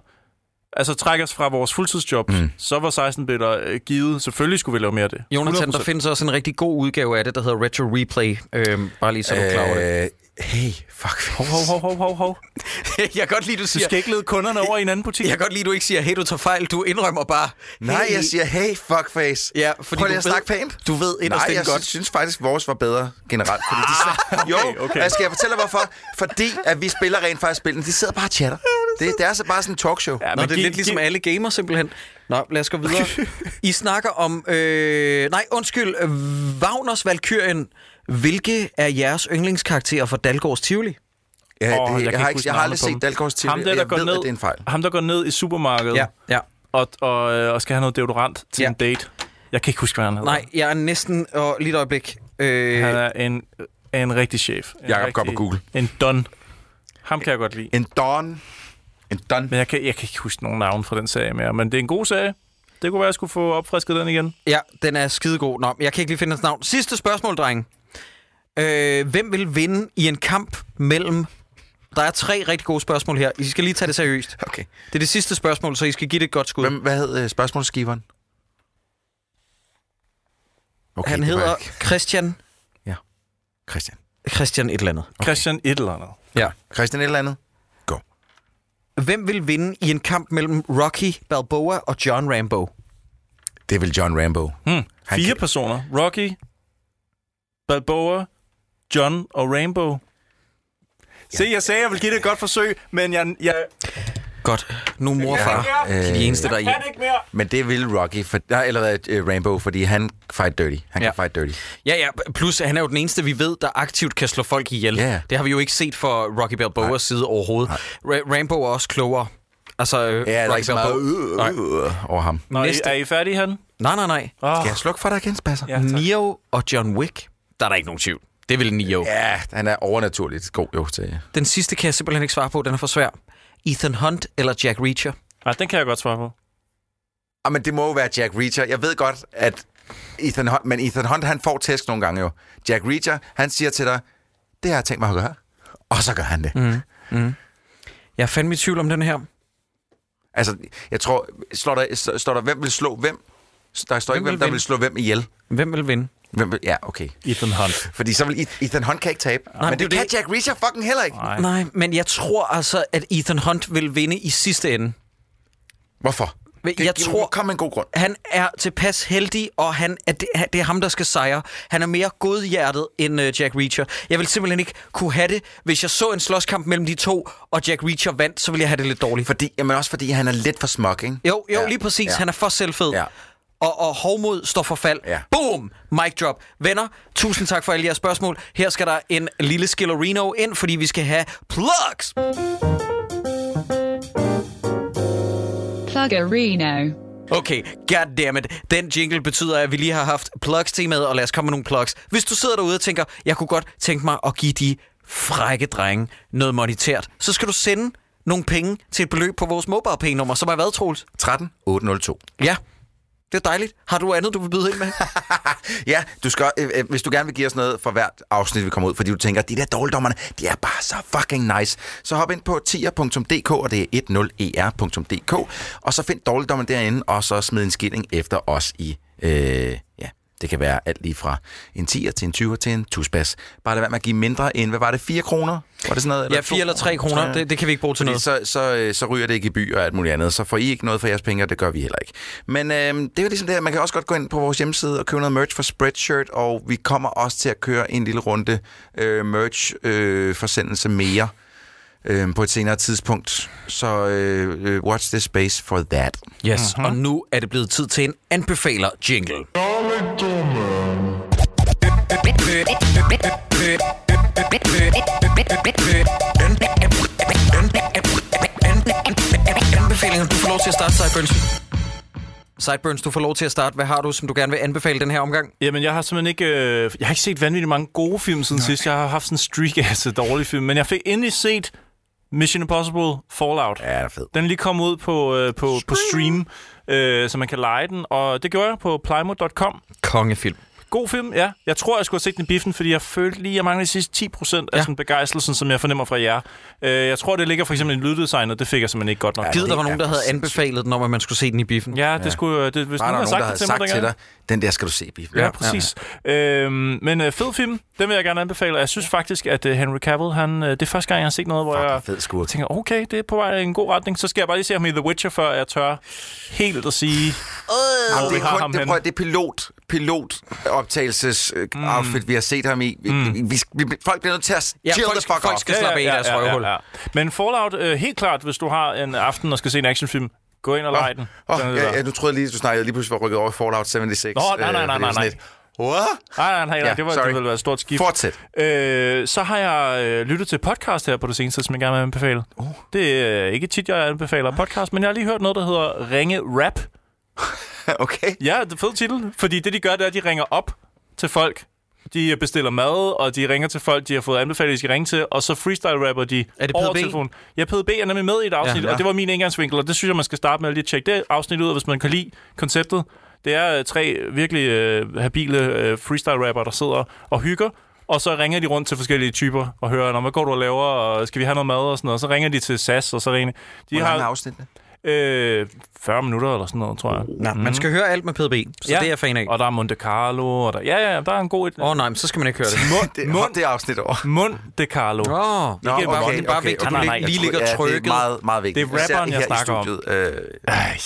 altså trække os fra vores fuldtidsjob, mm. så var 16 bitter øh, givet. Selvfølgelig skulle vi lave mere af det. Jonathan, 100%. der findes også en rigtig god udgave af det, der hedder Retro Replay. Øhm, bare lige så du er klar over det. Øh, hey, fuck. Hov, hov, hov, hov, hov, hov. Øh. jeg kan godt lide, du Du siger... skal ikke lede kunderne over i en anden butik. Jeg kan godt lide, du ikke siger, hey, du tager fejl. Du indrømmer bare... Nej, hey. jeg siger, hey, fuckface. Ja, fordi Prøv du lige at ved- snakke pænt. du ved inderst Nej, inde jeg godt. sy- synes faktisk, vores var bedre generelt. Fordi de sidder... jo, okay. okay. Jeg skal jeg fortælle dig, hvorfor? Fordi at vi spiller rent faktisk spillene. De sidder bare og chatter. Det, det er så bare sådan en talkshow. Ja. Ja, Nå, men det er giv- lidt ligesom giv- alle gamer simpelthen. Nå, lad os gå videre. I snakker om... Øh, nej, undskyld. øh, Wagners Valkyrien. Hvilke er jeres yndlingskarakterer fra Dalgårds Tivoli? Ja, det, Åh, jeg, kan jeg, ikke har, ikke, huske jeg har aldrig navnet på dem. set Dalgårds TV. Ham der, og der jeg går ved, ned, at det er en fejl. Ham, der går ned i supermarkedet Ja, ja. og, og, øh, og skal have noget deodorant til Ja. en date. Jeg kan ikke huske, hvad han hedder. Nej, jeg er næsten... Og lige et øjeblik. Øh, Han er en, er en rigtig chef. En Jakob, gå rigtig- på Google. En don. Ham kan jeg godt lide. En Don. En Don. Men jeg kan, jeg kan ikke huske nogen navn fra den serie mere. Men det er en god serie. Det kunne være, jeg skulle få opfrisket den igen. Ja, den er skidegod. Nå, jeg kan ikke lige finde hans navn. Sidste spørgsmål, dreng. Øh, hvem vil vinde i en kamp mellem... Der er tre rigtig gode spørgsmål her. I skal lige tage det seriøst. Okay. Det er det sidste spørgsmål, så I skal give det et godt skud. Hvem, hvad hed øh, spørgsmålsgiveren? Okay, Han det var hedder ikke Christian... Christian. Christian et eller andet. Christian et eller andet. Ja. Christian et eller andet? Go. Hvem vil vinde i en kamp mellem Rocky Balboa og John Rambo? Det er vel John Rambo. Hmm. Han Fire kan- personer. Rocky, Balboa, John og Rainbow. Se, jeg sagde, jeg ville give det et godt forsøg, men jeg... jeg Godt. Nu er mor og far Ja, Øh, de er de eneste, der er i. ikke mere! Men det vil Rocky, for, nej, eller hvad, øh, Rainbow, fordi han fight dirty. Han Ja. ja. kan fight dirty. Ja, ja. Plus, han er jo den eneste, vi ved, der aktivt kan slå folk ihjel. Ja, ja. Det har vi jo ikke set fra Rocky Balboas side overhovedet. Ra- Rambo er også klogere. Altså, ja, Rocky Ja, der er Balboa. ikke så meget øh, øh, over ham. Nå, Næste. er I færdige, han? Nej, nej, nej. Oh, Skal jeg slukke for dig igen, Spasser? ja, tak. Neo og John Wick, der er der ikke nogen tvivl. Det vil Neo. Ja. ja, han er overnaturligt god jo til. Den sidste kan jeg simpelthen ikke svare på, den er for svær. Ethan Hunt eller Jack Reacher? Ah, den kan jeg godt svare på. Ah, men det må jo være Jack Reacher. Jeg ved godt, at Ethan Hunt, men Ethan Hunt, han får tæsk nogle gange jo. Jack Reacher, han siger til dig, det har jeg tænkt mig at gøre. Og så gør han det. Mm. Jeg er fandme i tvivl om den her. Altså, jeg tror, står der, st- står der, hvem vil slå hvem? Der står Hvem ikke, hvem vil der vinde? vil slå hvem ihjel. Hvem vil vinde? Hvem vil, ja, okay. Ethan Hunt. Fordi så vil Eth- Ethan Hunt kan ikke tabe. Nej, men det er det, jo kan Jack Reacher fucking heller ikke. Nej. Nej, men jeg tror altså, at Ethan Hunt vil vinde i sidste ende. Hvorfor? Men Det, jeg tror- Kom med en god grund. Han er tilpas heldig, og han er det, han- det er ham, der skal sejre. Han er mere godhjertet end øh, Jack Reacher. Jeg vil simpelthen ikke kunne have det. Hvis jeg så en slåskamp mellem de to, og Jack Reacher vandt, så ville jeg have det lidt dårligt. Fordi, jamen også fordi han er lidt for smuk, ikke? Jo, jo, Ja, ja, lige præcis. ja. Ja. Han er for selvfed. Ja. Ja. Og, og hovmod står for fald. Ja. Boom! Mic drop. Venner, tusind tak for alle jeres spørgsmål. Her skal der en lille skillerino ind, fordi vi skal have plugs. Pluggerino. Okay, goddammit. Den jingle betyder, at vi lige har haft plugs-temaet, og lad os komme med nogle plugs. Hvis du sidder derude og tænker, jeg kunne godt tænke mig at give de frække drenge noget monetært, så skal du sende nogle penge til et beløb på vores mobile-p-nummer, som er hvad, Troels? 13 802. Ja, det er dejligt. Har du andet, du vil byde ind med? Ja, du skal, øh, øh, hvis du gerne vil give os noget for hvert afsnit, vi kommer ud, fordi du tænker, de der dårligdommerne, de er bare så fucking nice. Så hop ind på tier.dk, og det er E 10er.dk, og så find dårligdommerne derinde, og så smid en skilling efter os i, øh, ja, det kan være alt lige fra en 10'er til en 20'er til en tusbas. Bare lad være med at give mindre end, hvad var det, 4 kroner? Var det sådan noget? Ja, to 4 eller 3 kroner, det, det kan vi ikke bruge til Fordi noget. så, så, øh, så ryger det ikke i by og alt muligt andet. Så får I ikke noget for jeres penge, og det gør vi heller ikke. Men øh, det er jo ligesom det, at man kan også godt gå ind på vores hjemmeside og købe noget merch for Spreadshirt, og vi kommer også til at køre en lille runde øh, merch-forsendelse mere øh, på et senere tidspunkt. Så øh, øh, watch this space for that. Yes, Mhm. mm-hmm. og nu er det blevet tid til en anbefaler-jingle. Anbefalinger, du får lov til at starte, Sideburns. Sideburns, du får lov til at starte. Hvad har du, som du gerne vil anbefale den her omgang? Jamen, jeg har simpelthen ikke... Øh, jeg har ikke set vanvittigt mange gode film siden Nej. sidst. Jeg har haft sådan en streak af så dårlige film. Men jeg fik endelig set Mission Impossible Fallout. Ja, det er fedt. Den er lige kommet ud på, øh, på, på stream, øh, så man kan lege den. Og det gjorde jeg på plejemod.com. Kongefilm. God film, ja. Jeg tror, jeg skulle have set den i biffen, fordi jeg følte lige, at jeg manglede de sidste 10 procent af Ja. sådan begejstelsen, som jeg fornemmer fra jer. Øh, jeg tror, det ligger for eksempel i en lyddesign, og det fik jeg simpelthen ikke godt nok. Gid, der det var er nogen, der havde sindssygt. anbefalet den om, at man skulle se den i biffen. Ja, det skulle... øh, Det, hvis Bare der er nogen, nogen, der havde havde sagt til dengang- dig, den der skal du se, Biff. Ja, præcis. Ja, ja. Øhm, men øh, fed film, den vil jeg gerne anbefale. Og Jeg synes faktisk, at øh, Henry Cavill, han, øh, det er første gang, jeg har set noget, hvor Fuck, jeg en fed skurk. tænker, okay, det er på vej i en god retning. Så skal jeg bare lige se ham i The Witcher, før jeg tør helt at sige, Jamen, vi Øh, det, er har kun, ham det, henne. prøv, at- det er pilot, pilot optagelses mm. outfit, vi har set ham i. Vi, mm. vi, vi, folk bliver nødt til at Ja, chill ja, folk- the fuck folk off. skal- slappe af i deres røvhul. Men Fallout, øh, helt klart, hvis du har en aften og skal se en actionfilm, gå ind og lege den. Åh, Den er oh, ja, der. ja, nu troede jeg lige, du snakkede lige pludselig var rykket over i Fallout 76. Nå, nej, nej, øh, nej, fordi det var nej, sådan lidt, What? Nej, nej, nej, Ja, nej det, var, sorry. det ville være et stort skift. Fortsæt. Øh, så har jeg øh, lyttet til podcast her på det seneste, som jeg gerne vil anbefale. Oh. Det er øh, ikke tit, jeg anbefaler podcast, men jeg har lige hørt noget, der hedder Ringe Rap. Okay. Ja, det er fed titel, fordi det, de gør, det er, at de ringer op til folk. De bestiller mad, og de ringer til folk, de har fået anbefalet, de skal ringe til, og så freestyle-rapper de Er det over PDB? telefonen. Ja, PDB er nemlig med i et afsnit, Ja, ja, ja. og det var min indgangsvinkel, og det synes jeg, man skal starte med at lige tjekke det afsnit ud, og hvis man kan lide konceptet. Det er øh, tre virkelig øh, habile øh, freestyle-rapper, der sidder og hygger, og så ringer de rundt til forskellige typer og hører, "Nå, hvad går du og laver, og skal vi have noget mad og sådan noget. Så ringer de til SAS, og så ringer de. De Hvor mange har afsnit? er øh, 40 minutter eller sådan noget, tror jeg. Nå, man skal høre alt med PDB, så Mm. ja. det er jeg fan af. Åh Og der er Monte Carlo, og der, ja, ja, der er en god... Et, oh, nej, men så skal man ikke høre det. Mund, det? mund, Mund. Det er afsnit over. Monte Carlo. Åh, oh, det, er bare, okay, det er bare okay, vigtigt, okay. at du Nej, lige, nej, jeg lige Ja, ligger trykket. Det er meget, meget vigtigt. Det er rapperen, Især jeg her i snakker om. studiet. Øh, Ej.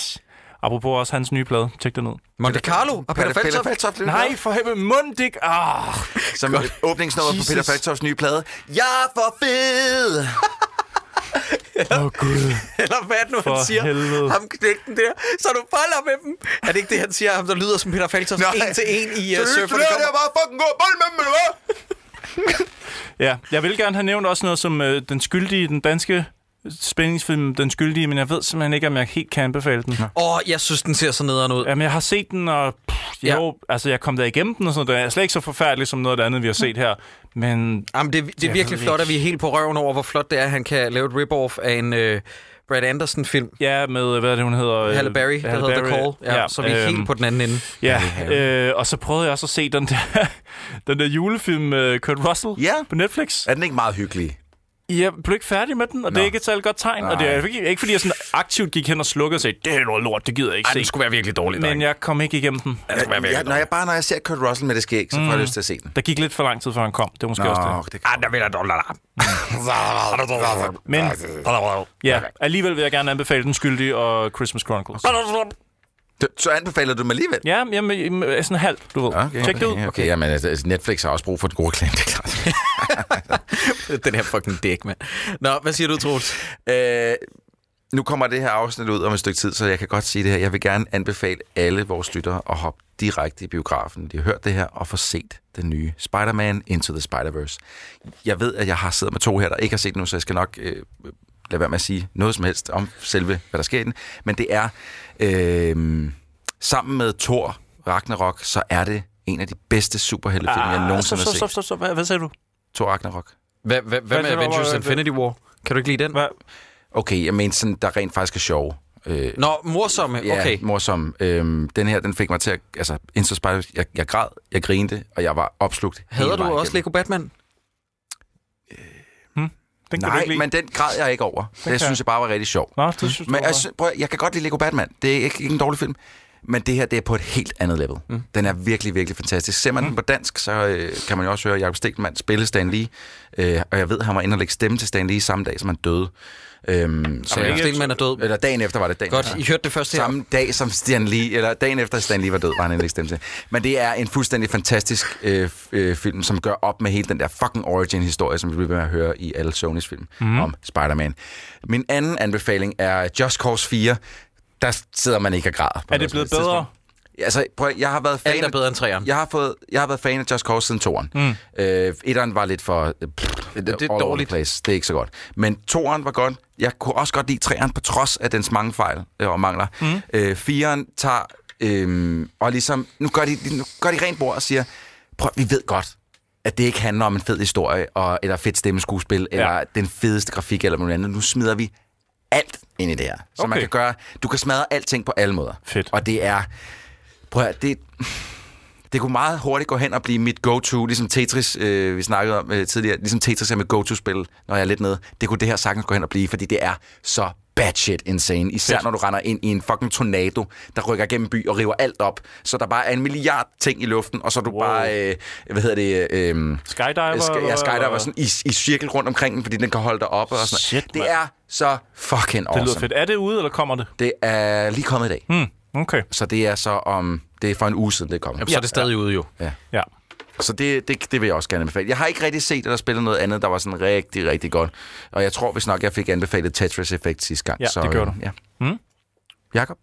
Apropos også hans nye plade, tjek det ned. Monte Carlo og Peter Peter Peter Faltoft. Faltoft. Nej, for helvede, Mundik! Ah. Som åbningsnummer på Jesus. Peter Faltofts nye plade. Jeg er for fed! Åh, oh, Gud. Eller hvad er det nu, For han siger? helvede. Ham knægten der, så du folder med dem. Er det ikke det, han siger? Ham, der lyder som Peter Faltoft en til en i uh, Så Surfer. det er bare fucking god bold med dem, eller hvad? Ja, jeg vil gerne have nævnt også noget som øh, den skyldige, den danske spændingsfilm, den skyldige, men jeg ved simpelthen ikke, om jeg helt kan anbefale den. Åh, oh, jeg synes, den ser så nederen ud. Jamen, jeg har set den, og pff, Ja. jo, altså, jeg kom der igennem den og sådan noget. Den er slet ikke så forfærdelig som noget af det andet, vi har set her. Men Jamen, det, det er Jeg virkelig ved flot, ikke. at vi er helt på røven over, hvor flot det er, at han kan lave et rip-off af en uh, Brad Anderson-film. ja, med, øh, hvad er det, hun hedder? Øh, Halle Berry, der Halle hedder The Berry. Call. Ja, så vi er øhm, helt på den anden ende. Ja, øh, og så prøvede jeg også at se den der, den der julefilm, øh, Kurt Russell, Ja. på Netflix. Er den ikke meget hyggelig? jeg blev ikke færdig med den, og Nå. det er Nå. ikke et særligt godt tegn. Nej. Og det er ikke, ikke, fordi jeg sådan aktivt gik hen og slukkede og sagde, det er noget lort, det gider jeg ikke Ej, den se. skulle være virkelig dårlig, Men dreng. jeg kom ikke igennem den. Jeg, jeg, når jeg, bare når jeg ser Kurt Russell med det skæg, så får jeg lyst til at se den. Der gik lidt for lang tid, før han kom. Det var måske Nå. også det. det kan der vil jeg dårlig Men ja, alligevel vil jeg gerne anbefale Den Skyldige og Christmas Chronicles. Du- Så anbefaler du mig alligevel? Ja, jamen, jamen, øh, sådan halvt, du ved. Okay, Tjek det ud. Okay, okay. Jamen, altså, Netflix har også brug for den gode reklame, det er klart. Den her fucking dæk, mand. Nå, hvad siger du, Troels? Øh, nu kommer det her afsnit ud om et stykke tid, så jeg kan godt sige det her. Jeg vil gerne anbefale alle vores lyttere at hoppe direkte i biografen. De har hørt det her og få set den nye Spider-Man Into the Spider-Verse. Jeg ved, at jeg har siddet med to her, der ikke har set den nu, så jeg skal nok øh, lade være med at sige noget som helst om selve, hvad der sker i den. Men det er, øh, sammen med Thor Ragnarok, så er det en af de bedste superheltefilm, ah, jeg Ah, så, nogensinde så, har så, set. så, så, hvad, hvad sagde du? Thor Ragnarok. Hvad, hvad, hvad med siger du, Avengers hvad- Infinity War? Kan du ikke lide den? Hvad? Okay, jeg mener sådan, der rent faktisk er sjov. Øh, Nå, morsomme. Ja, Okay. morsom. Øhm, den her, den fik mig til at... Altså, Into Spider, jeg, jeg græd, jeg grinte, og jeg var opslugt Hader hele du vejen også igennem. Lego Batman? Den kan du Nej, ikke lide. men den græd jeg ikke over. Det, kan det synes jeg bare var rigtig sjovt. Nå, det synes Men altså- du jeg, sy- prøv, at- jeg kan godt lide Lego Batman. Det er ikke, ikke en dårlig film. Men det her, det er på et helt andet level. Mm. Den er virkelig, virkelig fantastisk. Ser man mm. den på dansk, så øh, kan man jo også høre Jacob Stegmann spille Stan Lee. Øh, og jeg ved, han var inde og lægge stemme til Stan Lee samme dag, som han døde. Øhm, så, Jacob Stegmann er død. Eller dagen efter var det dagen Godt, efter. I hørte det først her. Samme dag som Stan Lee, eller dagen efter Stan Lee var død, var han endelig stemt til. Men det er en fuldstændig fantastisk øh, f- øh, film, som gør op med hele den der fucking origin-historie, som vi bliver ved med at høre i alle Sonys film Mhm. mm. om Spider-Man. Min anden anbefaling er Just Cause 4. Der sidder man ikke og græder. på Er noget det blevet som helst bedre? tidspunkt. Altså, prøv, at- jeg har været fan Alt er bedre end træeren. jeg har, fået, jeg har været fan af Just Cause siden toeren. Mm. Øh, etteren var lidt for... øh, Pff, det er all over the dårligt. Place. Det er ikke så godt. Men toeren var godt. Jeg kunne også godt lide treeren, på trods af dens mange fejl øh, og mangler. Mm. Øh, fireren tager... Øh, og ligesom... Nu gør, de, nu gør de rent bord og siger... Prøv, vi ved godt, at det ikke handler om en fed historie, og, eller fedt stemmeskuespil, ja. eller den fedeste grafik, eller noget andet. Nu smider vi alt ind i det her. Så okay. man Okay. kan gøre... Du kan smadre alting på alle måder. Fedt. Og det er... Prøv at, høre, det, det kunne meget hurtigt gå hen og blive mit go-to, ligesom Tetris, øh, vi snakkede om øh, tidligere, ligesom Tetris er mit go-to-spil, når jeg er lidt nede. Det kunne det her sagtens gå hen og blive, fordi det er så batshit insane. Især når du render ind i en fucking tornado, der rykker gennem by og river alt op. Så der bare er en milliard ting i luften, og så er du wow. bare, øh, hvad hedder det... Øh, Skydiver? Sk- ja, eller- skydiver sådan i, i cirkel rundt omkring den, fordi den kan holde dig oppe og sådan noget. Shit, Det mand. er så fucking Det awesome. lyder fedt. Er det ude, eller kommer det? Det er lige kommet i dag. Hmm, okay. Så det er så om... Det er for en uge siden, det er kommet. Jamen, så er det stadig ude jo. Ja. Så det, det, det vil jeg også gerne anbefale. Jeg har ikke rigtig set eller spillet noget andet, der var sådan rigtig, rigtig godt. Og jeg tror vist nok, jeg fik anbefalet Tetris Effect sidste gang. Ja, så, det gjorde øh, du. Ja. Mm. Jakob?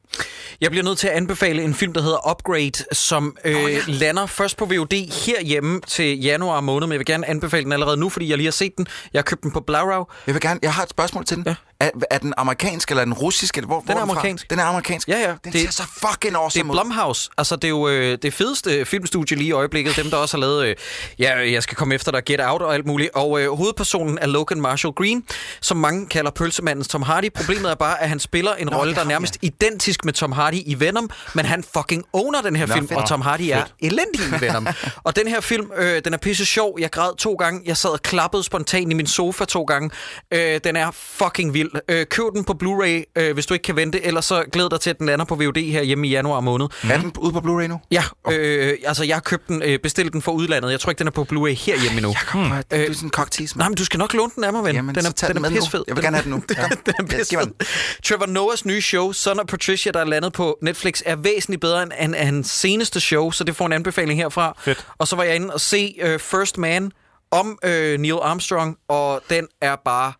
Jeg bliver nødt til at anbefale en film, der hedder Upgrade, som øh, oh, ja. lander først på VOD herhjemme til januar måned, men jeg vil gerne anbefale den allerede nu, fordi jeg lige har set den. Jeg har købt den på Blaurow. Jeg, vil gerne, jeg har et spørgsmål til den. Ja. Er, er, den amerikansk, eller er den russisk? Eller hvor, den hvor er fra? amerikansk. Den er amerikansk? Ja, ja. Den Det- ser så fucking Det awesome er ud. Blumhouse. Altså, det er jo øh, det fedeste filmstudie lige i øjeblikket. Dem, der også har lavet, øh, ja, jeg skal komme efter dig, Get Out og alt muligt. Og øh, hovedpersonen er Logan Marshall Green, som mange kalder pølsemanden Tom Hardy. Problemet er bare, at han spiller en rolle, det der er ham, nærmest identisk med Tom Hardy i Venom, men han fucking owner den her Nå, film, fedt. og Tom Hardy er elendig i Venom. og den her film, øh, den er pisse sjov. Jeg græd to gange. Jeg sad og klappede spontant i min sofa to gange. Øh, den er fucking vild. Øh, køb den på Blu-ray, øh, hvis du ikke kan vente. Ellers så glæd dig til, at den lander på VOD her hjemme i januar måned. Er den ude på Blu-ray nu? Ja, øh, altså jeg har købt den, øh, bestilt den fra udlandet. Jeg tror ikke, den er på Blu-ray herhjemme endnu. Kom, hmm. Du er sådan en cocktease, Nej, men du skal nok låne den af mig, ven. Jamen, den er, så tag den er med nu. pissefed. Jeg vil gerne have den nu. Kom. den er Ja, giv mig pissefed. Trevor Noahs nye show, Son of Patricia, der er landet på Netflix, er væsentligt bedre end, end, end hans seneste show, så det får en anbefaling herfra. Fedt. Og så var jeg inde og se øh, First Man om øh, Neil Armstrong, og den er bare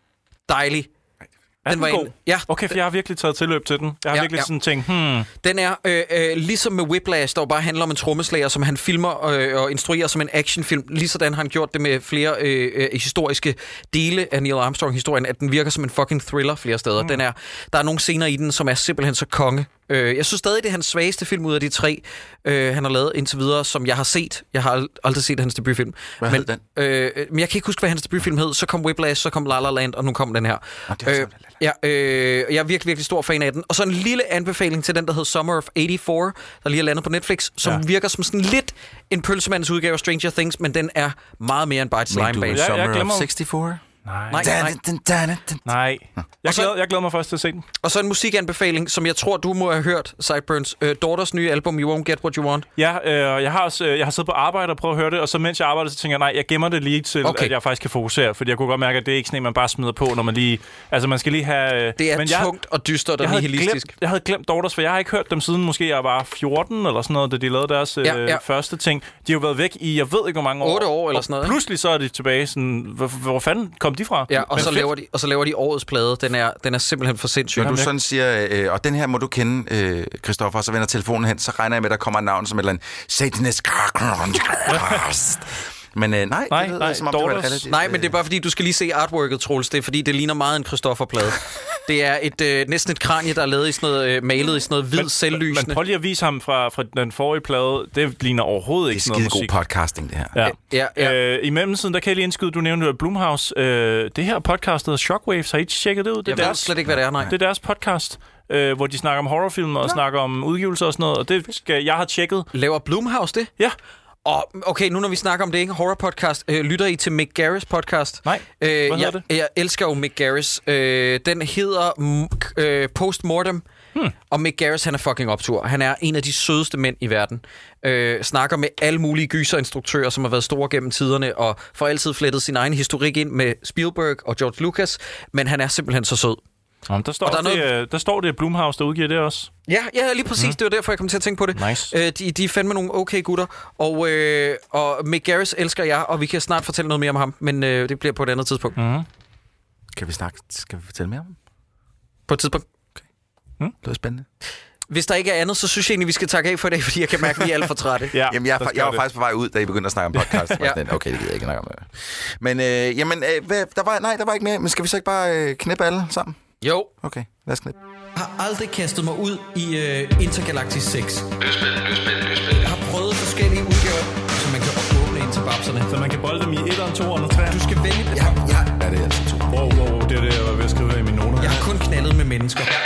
dejlig. Er den, var god? en- ja. Okay, for jeg har virkelig taget tilløb til den. Jeg har Ja, ja, virkelig ja. ja. sådan tænkt, hmm, Den er øh, øh, ligesom med Whiplash, der jo bare handler om en trommeslager, som han filmer øh, og instruerer som en actionfilm. Ligesådan har han gjort det med flere øh, øh, historiske dele af Neil Armstrong-historien, at den virker som en fucking thriller flere steder. Mm. Den er, der er nogle scener i den, som er simpelthen så konge. Øh, jeg synes stadig, det er hans svageste film ud af de tre, øh, han har lavet indtil videre, som jeg har set. Jeg har ald- aldrig set hans debutfilm. Hvad men, hed den? Øh, øh, men jeg kan ikke huske, hvad hans debutfilm hed. Så kom Whiplash, så kom La La Land, og nu kom den her. det var så Øh, Ja, øh, jeg er virkelig, virkelig stor fan af den. Og så en lille anbefaling til den, der hedder Summer of 84, der lige er landet på Netflix, som ja. virker som sådan lidt en pølsemandens udgave af Stranger Things, men den er meget mere end bare et slime Men du er base. jeg Summer of glemmer- 64? Nej. Nej. Da, da, da, da, da. Nej. Jeg, så- glæder, jeg glæder mig først til at se den. Og så en musikanbefaling, som jeg tror, du må have hørt, Sideburns. Øh, Daughters nye album, You Won't Get What You Want. Ja, øh, jeg har også øh, jeg har siddet på arbejde og prøvet at høre det, og så mens jeg arbejder, så tænker jeg, nej, jeg gemmer det lige til, Okay. okay. at jeg faktisk kan fokusere, fordi jeg kunne godt mærke, at det er ikke sådan en, man bare smider på, når man lige... Altså, man skal lige have... Øh, Det er men men jeg, tungt og dystert jeg og havde, nihilistisk. glemt, jeg havde glemt Daughters, for jeg har ikke hørt dem siden måske jeg var 14 eller sådan noget, da de lavede deres øh, Ja, ja, ja. ja. første ting. De har jo været væk i, jeg ved ikke hvor mange år. Otte år eller og sådan noget, ikke? pludselig så er de tilbage sådan, hvor, hvor fanden kom de fra? Ja, og Men så, fedt. laver de, og så laver de årets plade. Den er, den er simpelthen for sindssyg. Når du sådan siger, øh, og den her må du kende, øh, Christoffer, og så vender telefonen hen, så regner jeg med, at der kommer et navn som et eller andet Satanist. Men øh, nej, Nej, det lyder, nej, som om det var et Daughters. relativt... øh, Nej, men det er bare fordi, du skal lige se artworket, Troels. Det er fordi, det ligner meget en Christoffer-plade. det er et, øh, næsten et kranje, der er lavet i sådan noget, øh, malet i sådan noget hvid men, Men selvlysende. prøv lige at vise ham fra, fra den forrige plade. Det ligner overhovedet Det er ikke noget skide god musik. podcasting, det her. Ja. Ja, ja. Øh, I mellemtiden, der kan jeg lige indskyde, du nævnte Blumhouse. Øh, det her podcast hedder Shockwaves. Har I tjekket det ud? Det jeg er ved deres, slet ikke, hvad det er, nej. det er deres podcast, øh, hvor de snakker om horrorfilm og snakker om udgivelser og sådan noget. Og det skal, jeg har tjekket. Laver Blumhouse det? Ja, Og okay, nu når vi snakker om det, ikke? Horror podcast. Øh, lytter I til Mick Garris podcast? Nej. Øh, hedder jeg, det? jeg elsker jo Mick Garris. Øh, den hedder mm, k- øh, Postmortem. Hmm. Og Mick Garris, han er fucking optur. Han er en af de sødeste mænd i verden. Øh, snakker med alle mulige gyserinstruktører, som har været store gennem tiderne, og for altid flettet sin egen historik ind med Spielberg og George Lucas. Men han er simpelthen så sød. Jamen, der, står Og der der, er det, øh, der står det, at Blumhouse, der udgiver det også. Ja, ja, lige præcis. Mm. Det var derfor, jeg kom til at tænke på det. Mhm. Nice. Øh, de, de er fandme nogle okay gutter. Og, øh, og Mick Garris elsker jeg, og vi kan snart fortælle noget mere om ham. Men øh, det bliver på et andet tidspunkt. Mm. Mhm. Kan vi snakke? Skal vi fortælle mere om det? På et tidspunkt. Det er spændende. Hvis der ikke er andet, så synes jeg egentlig, vi skal takke af for i dag, fordi jeg kan mærke, at vi er alt for trætte. Ja, Jamen, jeg, er der fa- står jeg var det. faktisk på vej ud, da I begyndte at snakke om podcast. Ja. ja. sådan, okay, det gider jeg ikke snakke om. Men øh, jamen, øh, hvad, der var, nej, der var ikke mere. Men skal vi så ikke bare øh, knippe alle sammen? Jo. Okay, lad os knippe. Jeg har aldrig kastet mig ud i øh, Intergalactic 6. Løsspil, løsspil, løsspil. Jeg har prøvet forskellige udgaver, så man kan åbne ind til babserne. Så man kan bolde dem i 1'eren, 2'eren og 3'eren. Du skal vælge. Ja, ja. Er det altså to? Wow, wow, wow, det er det, jeg var ved at skrive her i mine noter. Jeg har kun knaldet med mennesker.